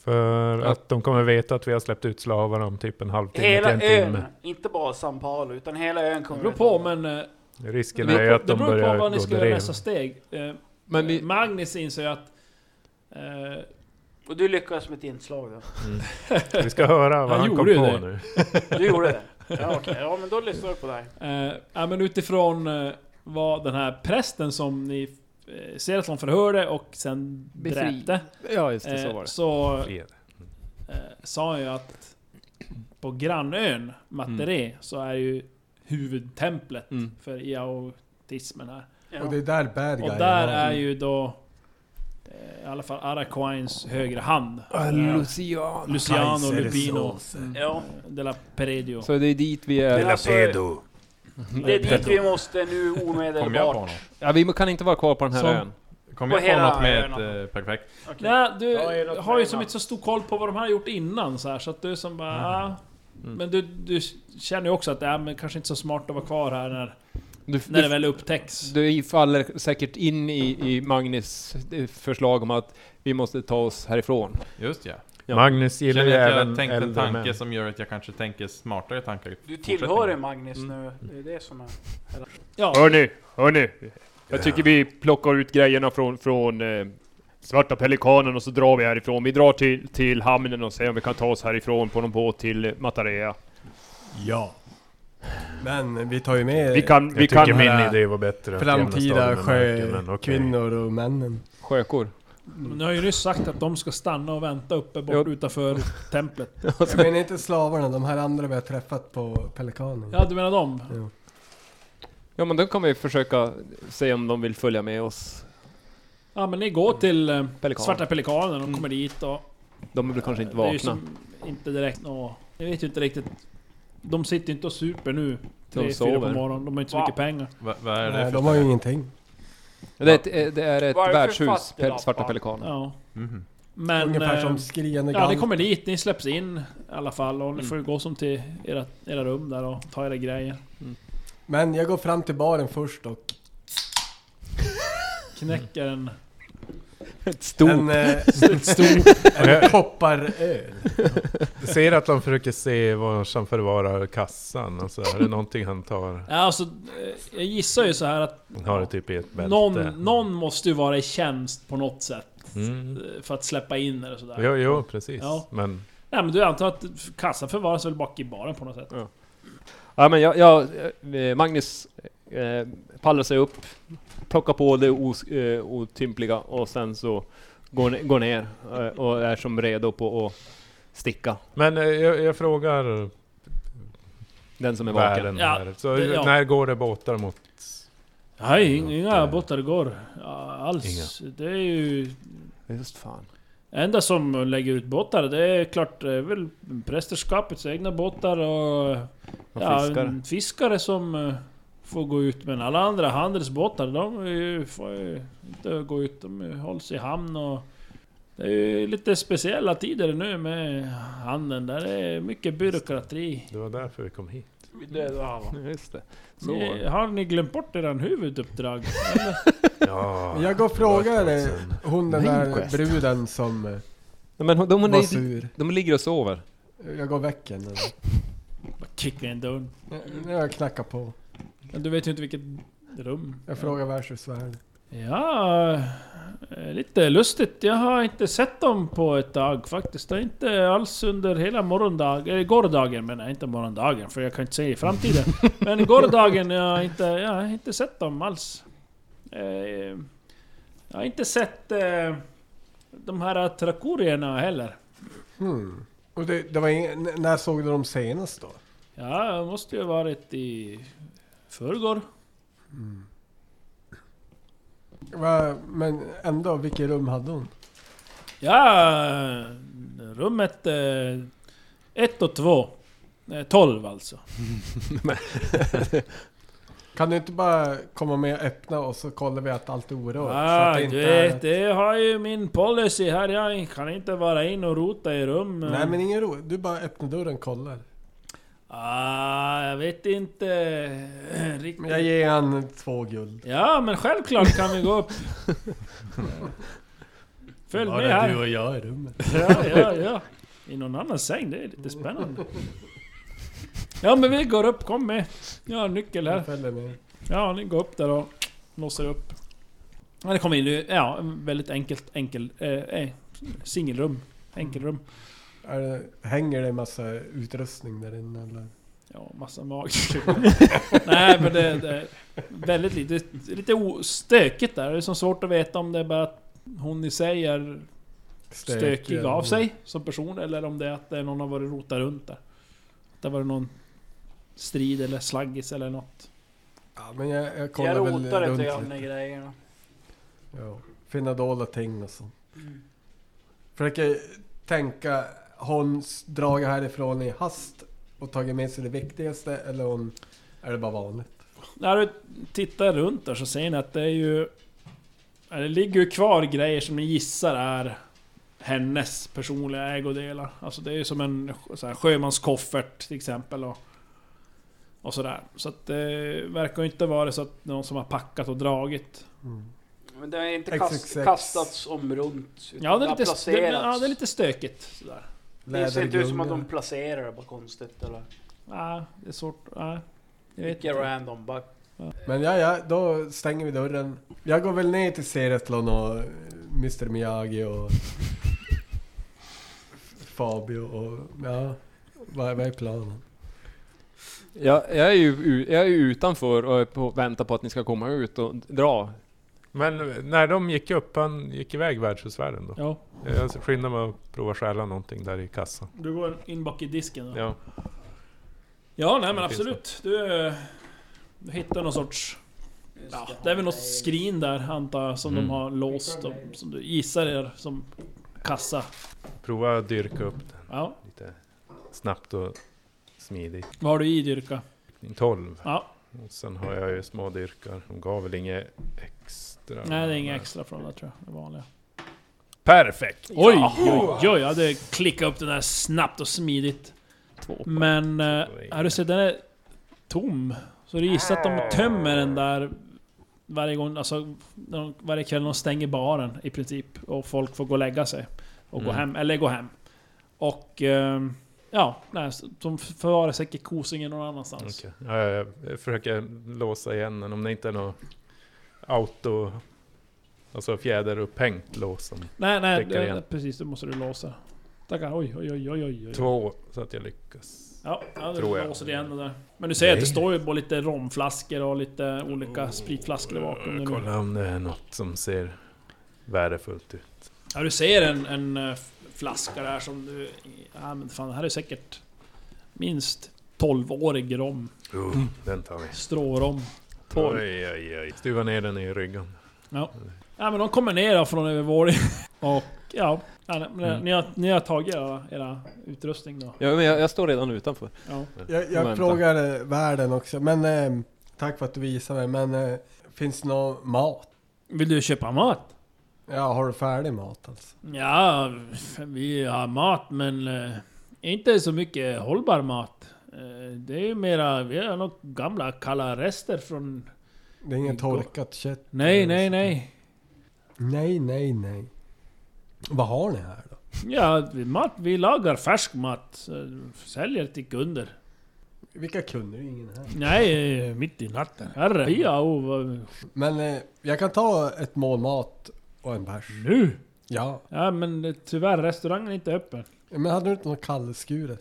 H: För att de kommer veta att vi har släppt ut slavar om typ en halvtimme
F: Hela
H: till en
F: ön,
H: timme.
F: inte bara San Paolo, utan hela ön
B: Det
F: kommer
B: beror
F: vi-
B: på men... eh,
H: Risken
B: det
H: är ju
B: beror-
H: att
B: det
H: de
B: beror på
H: börjar
B: vad ni ska
H: gå
B: göra i
H: drev.
B: nästa steg. Eh,
C: Men vi,
B: Magnus inser ju att... Eh,
F: Och du lyckades med ett inslag då.
H: Vi ska höra vad
B: Han
H: han, kom på
B: gjorde ju det.
H: nu.
F: Du gjorde det? Ja, okej. ja men då lyssnar vi på dig.
B: Eh, ja, men utifrån eh, vad den här prästen som ni eh, ser att de förhörde och sen
C: Befri-
B: dräpte.
C: ja just det, så var
B: Eh, så
C: det.
H: Fred.
B: eh, sa han ju att på grannön Materé så är ju huvudtemplet
C: Mm.
B: för iaotismen här.
F: Ja.
E: Och det är där bad
B: Och
E: guyen
B: där
E: var.
B: är ju då eh, i alla fall Araquines högra hand.
C: Eh, Luciano.
B: Luciano
D: Kaiser
B: Lubino
D: Sousa.
F: Ja.
B: de la Peredio.
C: Så det är dit vi
F: Men
C: är.
F: alltså, det är dit vi måste nu omedelbart.
I: Kom jag på något?
C: Ja, vi kan inte vara kvar på den här
B: Som-
C: ön.
I: Kom
F: På
I: jag på
F: hela
I: något med ett
F: öarna.
I: eh, perfekt?
F: Okej.
B: Nej, du
F: Ja, är det
B: har ju
F: träna?
B: som inte så stor koll på vad de här har gjort innan så här, så att du som bara... ah. Men du, du känner ju också att det är men kanske inte så smart att vara kvar här när,
C: Du,
B: när det
C: du,
B: väl upptäcks.
C: du faller säkert in i, i Magnus eh, förslag om att vi måste ta oss härifrån.
I: Just ja.
C: Ja.
H: Magnus
I: Jag
H: gillar ju
I: känner att
H: även
I: jag tänkte en
H: äldre
I: tanke
H: män.
I: som gör att jag kanske tänker smartare tankar. i
F: Du
I: fortsättningen.
F: tillhör ju Magnus
B: Mm.
F: nu. Det är det som är...
B: Ja,
G: Hörni, hörni. Jag tycker vi plockar ut grejerna från, från eh, Svarta Pelikanen och så drar vi härifrån. Vi drar till, till hamnen och ser om vi kan ta oss härifrån på någon båt till eh, Matarea.
E: Ja. Men vi tar ju med
G: Vi kan,
H: Jag
G: vi
H: tycker
G: kan,
H: min
E: höra
H: idé var bättre. att jämna
E: framtida
H: staden med marken, men okej.
E: sjökvinnor och männen.
C: Sjökor.
B: men du har ju nyss sagt att de ska stanna och vänta uppe bort
C: Ja.
B: utanför templet.
E: Jag menar inte slavarna, de här andra vi har träffat på Pelikanen.
B: Ja, du menar dem?
C: Ja men då kan vi försöka se om de vill följa med oss.
B: Ja, men ni går till eh,
C: Pelikan.
B: Svarta Pelikanen och kommer dit och...
C: De vill kanske inte
B: Det är ju
C: vakna.
B: som inte direkt nå... Jag vet ju inte riktigt. De sitter ju inte och super nu. Tre, fyra på
C: sover.
B: morgonen. De har inte så
F: Va?
B: mycket pengar.
I: Va- Vad är det
E: Nej,
I: för
E: de har ju
I: ställe?
E: ingenting.
C: Det är ett, eh, det är ett
F: Varför
C: värdshus,
F: fattiglappar?
C: pe- Svarta Pelikanen.
B: Ja.
I: Mhm.
B: Men...
E: Ungefär som
B: eh,
E: skriande
B: Ja, ni
E: galt.
B: kommer dit, ni släpps in i alla fall och ni
H: Mm.
B: får ju gå som till era, era rum där och ta era grejer.
E: Men jag går fram till baren först och
B: Knäcker en...
H: Mm.
C: Ett stort...
E: en, eh, en kopparöl.
H: Du ser att han försöker se vad som förvarar kassan. Alltså, är det någonting han tar?
B: Ja, alltså, eh, jag gissar ju så här att
H: Han har det typ i ett bälte.
B: någon, någon måste ju vara i tjänst på något sätt
H: Mm.
B: eh, för att släppa in eller sådär.
H: Jo, jo, precis.
B: Ja.
H: Men
B: Nej men du antar att kassan förvaras väl bak i baren på något sätt?
C: Ja men jag, jag eh, Magnus eh, pallar sig upp, plockar på det os, eh, otympliga och sen så går, ne- går ner eh, och är som redo på att sticka
H: Men eh, jag, jag frågar
C: den som är vaken.
H: världen
B: Ja,
H: Mm, här. Så eh,
B: det- ja.
H: när går det båtar mot...
B: Nej, inga, inga båtar går ja, alls. Det är ju...
C: Just fan.
B: enda som lägger ut båtar, det är klart det är väl prästerskapets egna båtar och...
C: Och
B: ja,
C: fiskare.
B: en fiskare som eh, får gå ut. Men alla andra handelsbåtar, de är ju- får ju inte gå ut. De hålls i hamn och... Det är ju lite speciella tider nu med handeln. Där det är mycket byråkrati.
H: Det var därför vi kom hit.
F: Vi dödar alla.
C: Just det. Så.
B: Ni, har ni glömt bort eran huvuduppdrag?
H: Ja,
E: Jag går och frågar eh, hon den
C: Main
E: där
C: quest.
E: bruden som eh,
C: Nej, men hon- de, hon
E: var
C: är,
E: sur.
C: de ligger och sover.
E: Jag går och väcker henne.
B: Bara Kicka in dörren.
E: Jag knackar på.
B: Men du vet ju inte vilket rum.
E: Jag frågar värdshusvärden.
B: Ja, eh, lite lustigt. Jag har inte sett dem på ett tag faktiskt. Det är inte alls under hela morgondagen, eller gårdagen menar jag, inte morgondagen för jag kan inte se i framtiden. Men gårdagen, jag har inte, jag har inte sett dem alls. Eh, Jag har inte sett eh, de här trakorierna heller.
E: Hmm. Och det, det var ingen, n- när såg du dem senast då?
B: Ja, det måste ju ha varit i förrgår.
E: Va, men ändå, vilket rum hade hon?
B: Ja, rummet... eh, Ett och två. Eh, Tolv alltså.
E: Kan du inte bara komma med och öppna och så kollar vi att allt är orört?
B: Ah,
E: så att
B: du
E: är-
B: vet, det har ju min policy här. Jag kan inte vara in och rota i rum.
E: Nej men ingen ro. Du bara öppnar dörren och kollar.
B: Ah, jag vet inte
E: Men jag
B: riktigt.
E: ger han två guld.
B: Ja, men självklart kan vi gå upp. Följ med
D: Bara
B: här.
D: du och jag i rummet.
B: Ja, ja, ja. I någon annan säng, det är lite spännande. Ja men vi går upp, kom med. Jag har en nyckel här.
E: Jag följer med.
B: Ja, ni går upp där och låser upp. Ja, ni kommer in i, ja, en väldigt enkelt, enkel, eh, eh, singelrum. Enkelrum.
E: Är det, hänger det en massa utrustning där inne eller?
B: Ja, massa mag. Nej men det, det är väldigt lite, lite o- stökigt där. Det är som svårt att veta om det är bara att hon i sig är stökig
E: Stökiga.
B: av sig som person eller om det är att det är någon har varit och rotat runt där. Att det har varit någon strid eller slaggis eller något.
E: Ja, men jag, jag kollar
F: Jag
E: väl
F: rotar
E: runt
F: efter de där
E: lite.
F: grejerna.
E: Ja. Finna dolda ting och sånt.
F: Mm.
E: Försöker tänka, har hon s- dragit härifrån i hast och tagit med sig det viktigaste eller hon, är det bara vanligt?
B: När du tittar runt där så ser ni att det är ju... ja, Det ligger ju kvar grejer som ni gissar är hennes personliga ägodelar. Alltså det är ju som en så här, sjömanskoffert till exempel och, och sådär. Så att det verkar ju inte vara så att någon som har packat och dragit.
F: Men det har inte kast,
E: XXX.
F: kastats om runt. utan
B: Ja det är
F: har
B: lite, det,
F: placerats.
B: ja, det är lite stökigt. Sådär.
F: Det ser inte ut som att de
E: Lädergunga.
F: placerar det på konstigt eller...
B: Nej, det är svårt. Nej. Jag vet
F: Vilka
B: inte.
F: random bara...
E: Men ja, ja, då stänger vi dörren. Jag går väl ner till Seretlon och eh, Mr Miyagi och Fabio och ja, vad, vad är planen?
C: Jag, jag, är ju, u- jag är ju utanför och är på, väntar på att ni ska komma ut och dra.
H: Men när de gick upp, han gick iväg värdshusvärden då?
B: Ja,
H: Jag skyndar mig att prova stjäla någonting där i kassan.
B: du går in bak i disken då.
H: Ja.
B: Ja, nej men
H: Vad finns
B: absolut. Du, eh, du hittar någon sorts... Ja, det är väl något skrin där antar jag som
H: Mm.
B: de har låst och, som du gissar är som kassa.
H: Prova att dyrka upp den
B: Ja,
H: lite snabbt och smidigt.
B: vad har du i dyrka?
H: 12.
B: Ja.
H: Och sen har jag ju små dyrkar. De gav väl inget extra?
B: Nej, det är inga extra från det tror jag. Det vanliga.
H: Perfekt!
B: Oj, oj, oj! Jag hade klickat upp den där snabbt och smidigt. Men... eh, Har du sett, den är tom. Så du gissar att de tömmer den där varje gång, alltså när de- varje kväll de stänger baren i princip. Och folk får gå och lägga sig. Och gå
H: Mm.
B: hem, eller gå hem. Och... ehm, ja, nej, så de förvarar säkert kosingen någon annanstans.
H: Okej. Ja, jag, jag försöker låsa igen den om det inte är något auto... Alltså fjäderupphängt lås. Om
B: Nej, nej,
H: Täcker
B: det-
H: igen.
B: precis. Det måste du låsa. Tackar, oj, oj, oj, oj, oj. oj.
H: två, så att jag lyckas.
B: Ja, ja du
H: Tror jag.
B: låser det igen det där. Men du ser att det står ju både lite romflaskor och lite olika spritflaskor där bakom. dig nu.
H: Oh, Kolla om det är något som ser värdefullt ut.
B: Ja, du ser en, en eh, flaska där som du... Ja, men fan, det här är säkert minst 12-årig rom.
I: Mm.
H: Oh, den tar vi.
B: Strårom. Tolv.
H: Oj, oj, oj. Stuva ner den i ryggen.
B: Ja, men de kommer ner då från övervåningen. Och ja, ja men,
H: Mm.
B: ni, har, ni har tagit era, era utrustning då.
C: Ja, men jag, jag står redan utanför.
B: Ja.
E: Jag,
C: Vänta.
E: jag frågar eh, världen också, men eh, tack för att du visade mig, men eh, finns det någon mat?
B: Vill du köpa mat?
E: Ja, har du färdig mat alltså?
B: Ja, vi har mat men eh, inte så mycket hållbar mat. Eh, det är ju mera, vi har något gamla kalla rester från...
E: Det är inget
B: Igår.
E: torkat kött?
B: Nej, nej, nej.
E: Nej, nej, nej. Vad har ni här då?
B: Ja, vi, mat, vi lagar färsk mat. eh, Säljer till kunder.
E: Vilka kunder? Det är Ingen här.
B: Nej, eh, mitt i natten. Herre, ja, oh, vad-
E: Men eh, jag kan ta ett mål mat och en bärs.
B: nu?
E: Mm. Ja,
B: Ja, men eh, tyvärr, restaurangen är inte öppen.
E: men hade du inte något kallskuret?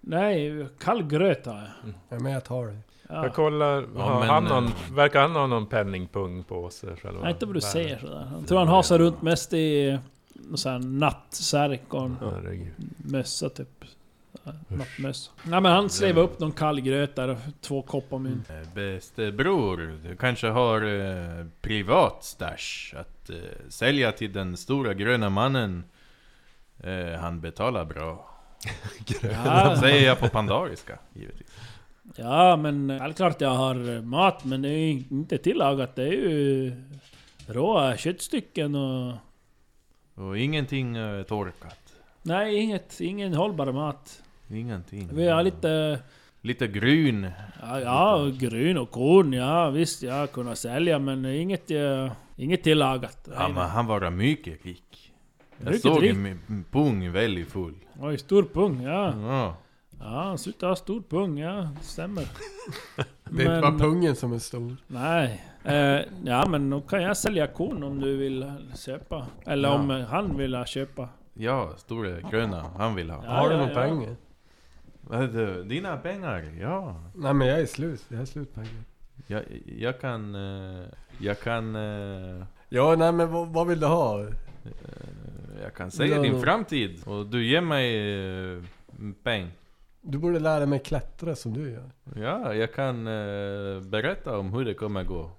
B: Nej, kall gröt har jag.
E: Ja, men jag tar det.
H: Jag
B: Ja.
H: kollar, har
I: men,
H: han
I: eh,
H: någon, verkar han ha någon penningpung på sig? Själva?
B: Nej, inte vad du
H: Nej.
B: säger sådär. Jag tror han hasar runt mest i eh, någon sån här nattsärk och en
H: Herregud.
B: mössa typ. Ja, Nattmössa. Nej men han slev upp någon kall gröt där och två koppar
E: Mm.
B: mynt.
I: Eh, Bäste bror, du kanske har eh, privat stash att eh, sälja till den stora gröna mannen. Eh, han betalar bra.
B: Ja,
I: Säger jag på pandariska, givetvis.
B: Ja, men eh, självklart jag har eh, mat, men det är ju inte tillagat. Det är ju råa köttstycken och...
I: Och ingenting eh, torkat.
B: Nej, inget, ingen hållbar mat.
I: Ingenting.
B: Vi har lite...
I: Lite gryn.
B: Ja, ja gryn och korn, ja visst, jag kunnat sälja, men inget, eh, inget tillagat.
I: Ja, men han var mycket rik.
D: Jag
B: Mycket
D: såg
B: drick.
D: en pung väldigt full.
B: Oj, stor pung, ja.
E: Mm.
D: Ja.
B: Ja, sluta ha stor pung, ja. Stämmer.
E: Det är inte bara pungen som är stor.
B: Nej. Eh, ja men då kan jag sälja kon om du vill köpa. Eller
D: Ja.
B: om eh, han vill ha köpa.
D: Ja, stora gröna. Han vill ha.
B: Ja,
E: Har du
B: ja,
E: någon
B: ja.
E: pengar?
D: Vad är det? Dina pengar, ja.
E: Nej men jag är slut. Jag är slut pengar.
D: Jag, jag kan... eh, Jag kan... eh,
E: Ja nej men vad, vad vill du ha?
D: Jag kan säga
E: Ja,
D: din
E: då.
D: framtid. Och du ger mig eh, peng.
E: Du borde lära mig klättra som du gör.
D: Ja, jag kan eh, berätta om hur det kommer gå.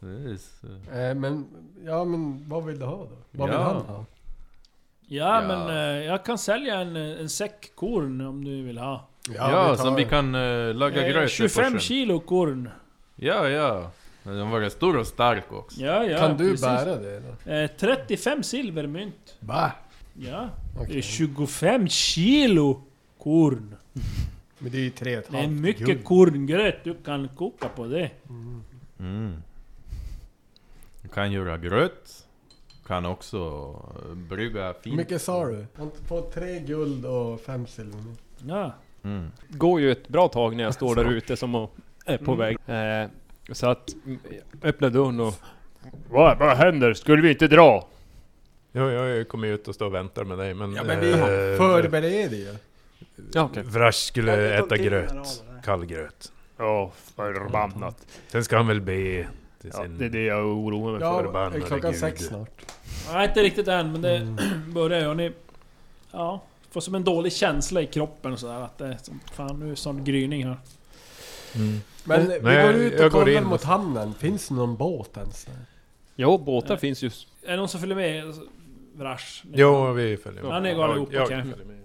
D: Det är s-
E: Eh, men, ja men vad vill du ha då? Vad vill
D: Ja.
E: han ha?
B: Ja,
D: Ja.
B: men eh, jag kan sälja en, eh, en säck korn om du vill ha.
D: Ja,
E: vi tar-
D: som vi kan eh, laga
B: Eh,
D: gröt i
B: 25
D: forsen.
B: kilo korn.
D: Ja, ja. Men den var stor och stark också.
B: Ja, ja,
E: Kan du
B: precis.
E: bära det eller?
B: Eh, 35 silvermynt.
E: Va?
B: Ja. Det är
E: Okej.
B: 25 kilo korn.
E: Men det är ju tre och ett
B: Det är
E: halvt
B: mycket
E: guld.
B: korngröt du kan koka på det.
D: Mm. Du kan göra gröt. Kan också eh, brygga
E: Hur
D: fint.
E: mycket sa du? Han får tre guld och fem silver.
B: Ja.
D: Mm.
C: går ju ett bra tag när jag står där ute som och är på
B: Mm.
C: väg. Eh, så att mm, jag öppnar dörren och... Vad, vad händer? Skulle vi inte dra?
H: Ja, jag kommer ju ut och stå och väntar med dig men...
E: Ja men vi
H: eh,
E: förbereder ju.
C: Ja, okej.
H: Vrash
F: Jag
H: skulle
F: vet inte
H: äta
F: om tiden
H: gröt.
F: är av, eller?
H: Kall gröt.
C: Ja, förbannat.
H: Sen ska han väl be till
C: Ja,
H: sin...
C: det är det jag oroar mig för.
E: Ja,
H: förbannade
E: är klockan
H: gud.
E: sex snart.
B: Nej, inte riktigt än, men det börjar ju. och Ni, ja, får som en dålig känsla i kroppen och sådär. Att det är som, fan, nu är det sån gryning här.
E: Men
H: Nej,
E: vi går ut
H: jag
E: och
H: går
E: kollar
H: in.
E: mot hamnen. Finns det någon båt ens? där?
C: Ja, båtar finns ju.
B: Är det någon som följer med? Alltså, Vrash? Ni-
H: Jo, vi följer med.
B: Ja, ni går allihopa,
H: jag,
B: okej.
H: jag följer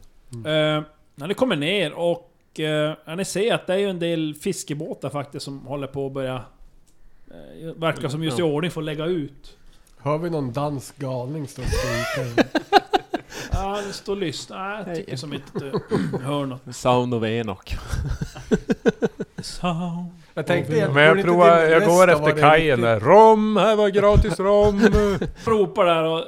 H: med.
B: Eh, när ni kommer ner och eh, när ni ser att det är ju en del fiskebåtar faktiskt som håller på att börja... Eh, verkar som just i ordning för att lägga ut.
E: Hör vi någon dansk galning stå och skrika?
B: Ja, det står och lyssnar. Nej, jag tycker som inte att du hör något.
C: Sound of Enoch.
B: Sound.
E: Jag tänkte
H: Men jag provar, jag går efter kajen där. Rom, här var gratis rom!
B: ropar där och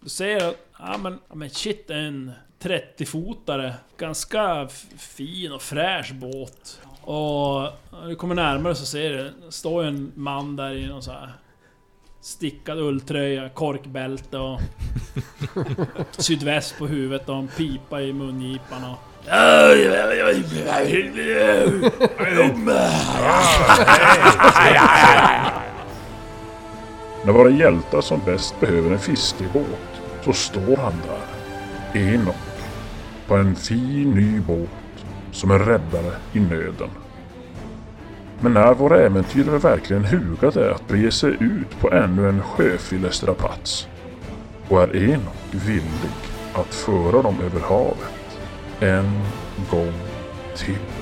B: du ser att ja men, ja, men shit det är en 30-fotare. Ganska f- fin och fräsch båt. Och när du kommer närmare så ser du, det står ju en man där i någon så här stickad ulltröja, korkbälte och sydväst på huvudet och en pipa i mungipan och...
A: När våra hjältar som bäst behöver en fiskebåt så står han där, Enoch, på en fin ny båt som en räddare i nöden. Men är våra äventyrare verkligen hugade att bege sig ut på ännu en sjöfyllestraplats? Och är Enoch villig att föra dem över havet en gång till?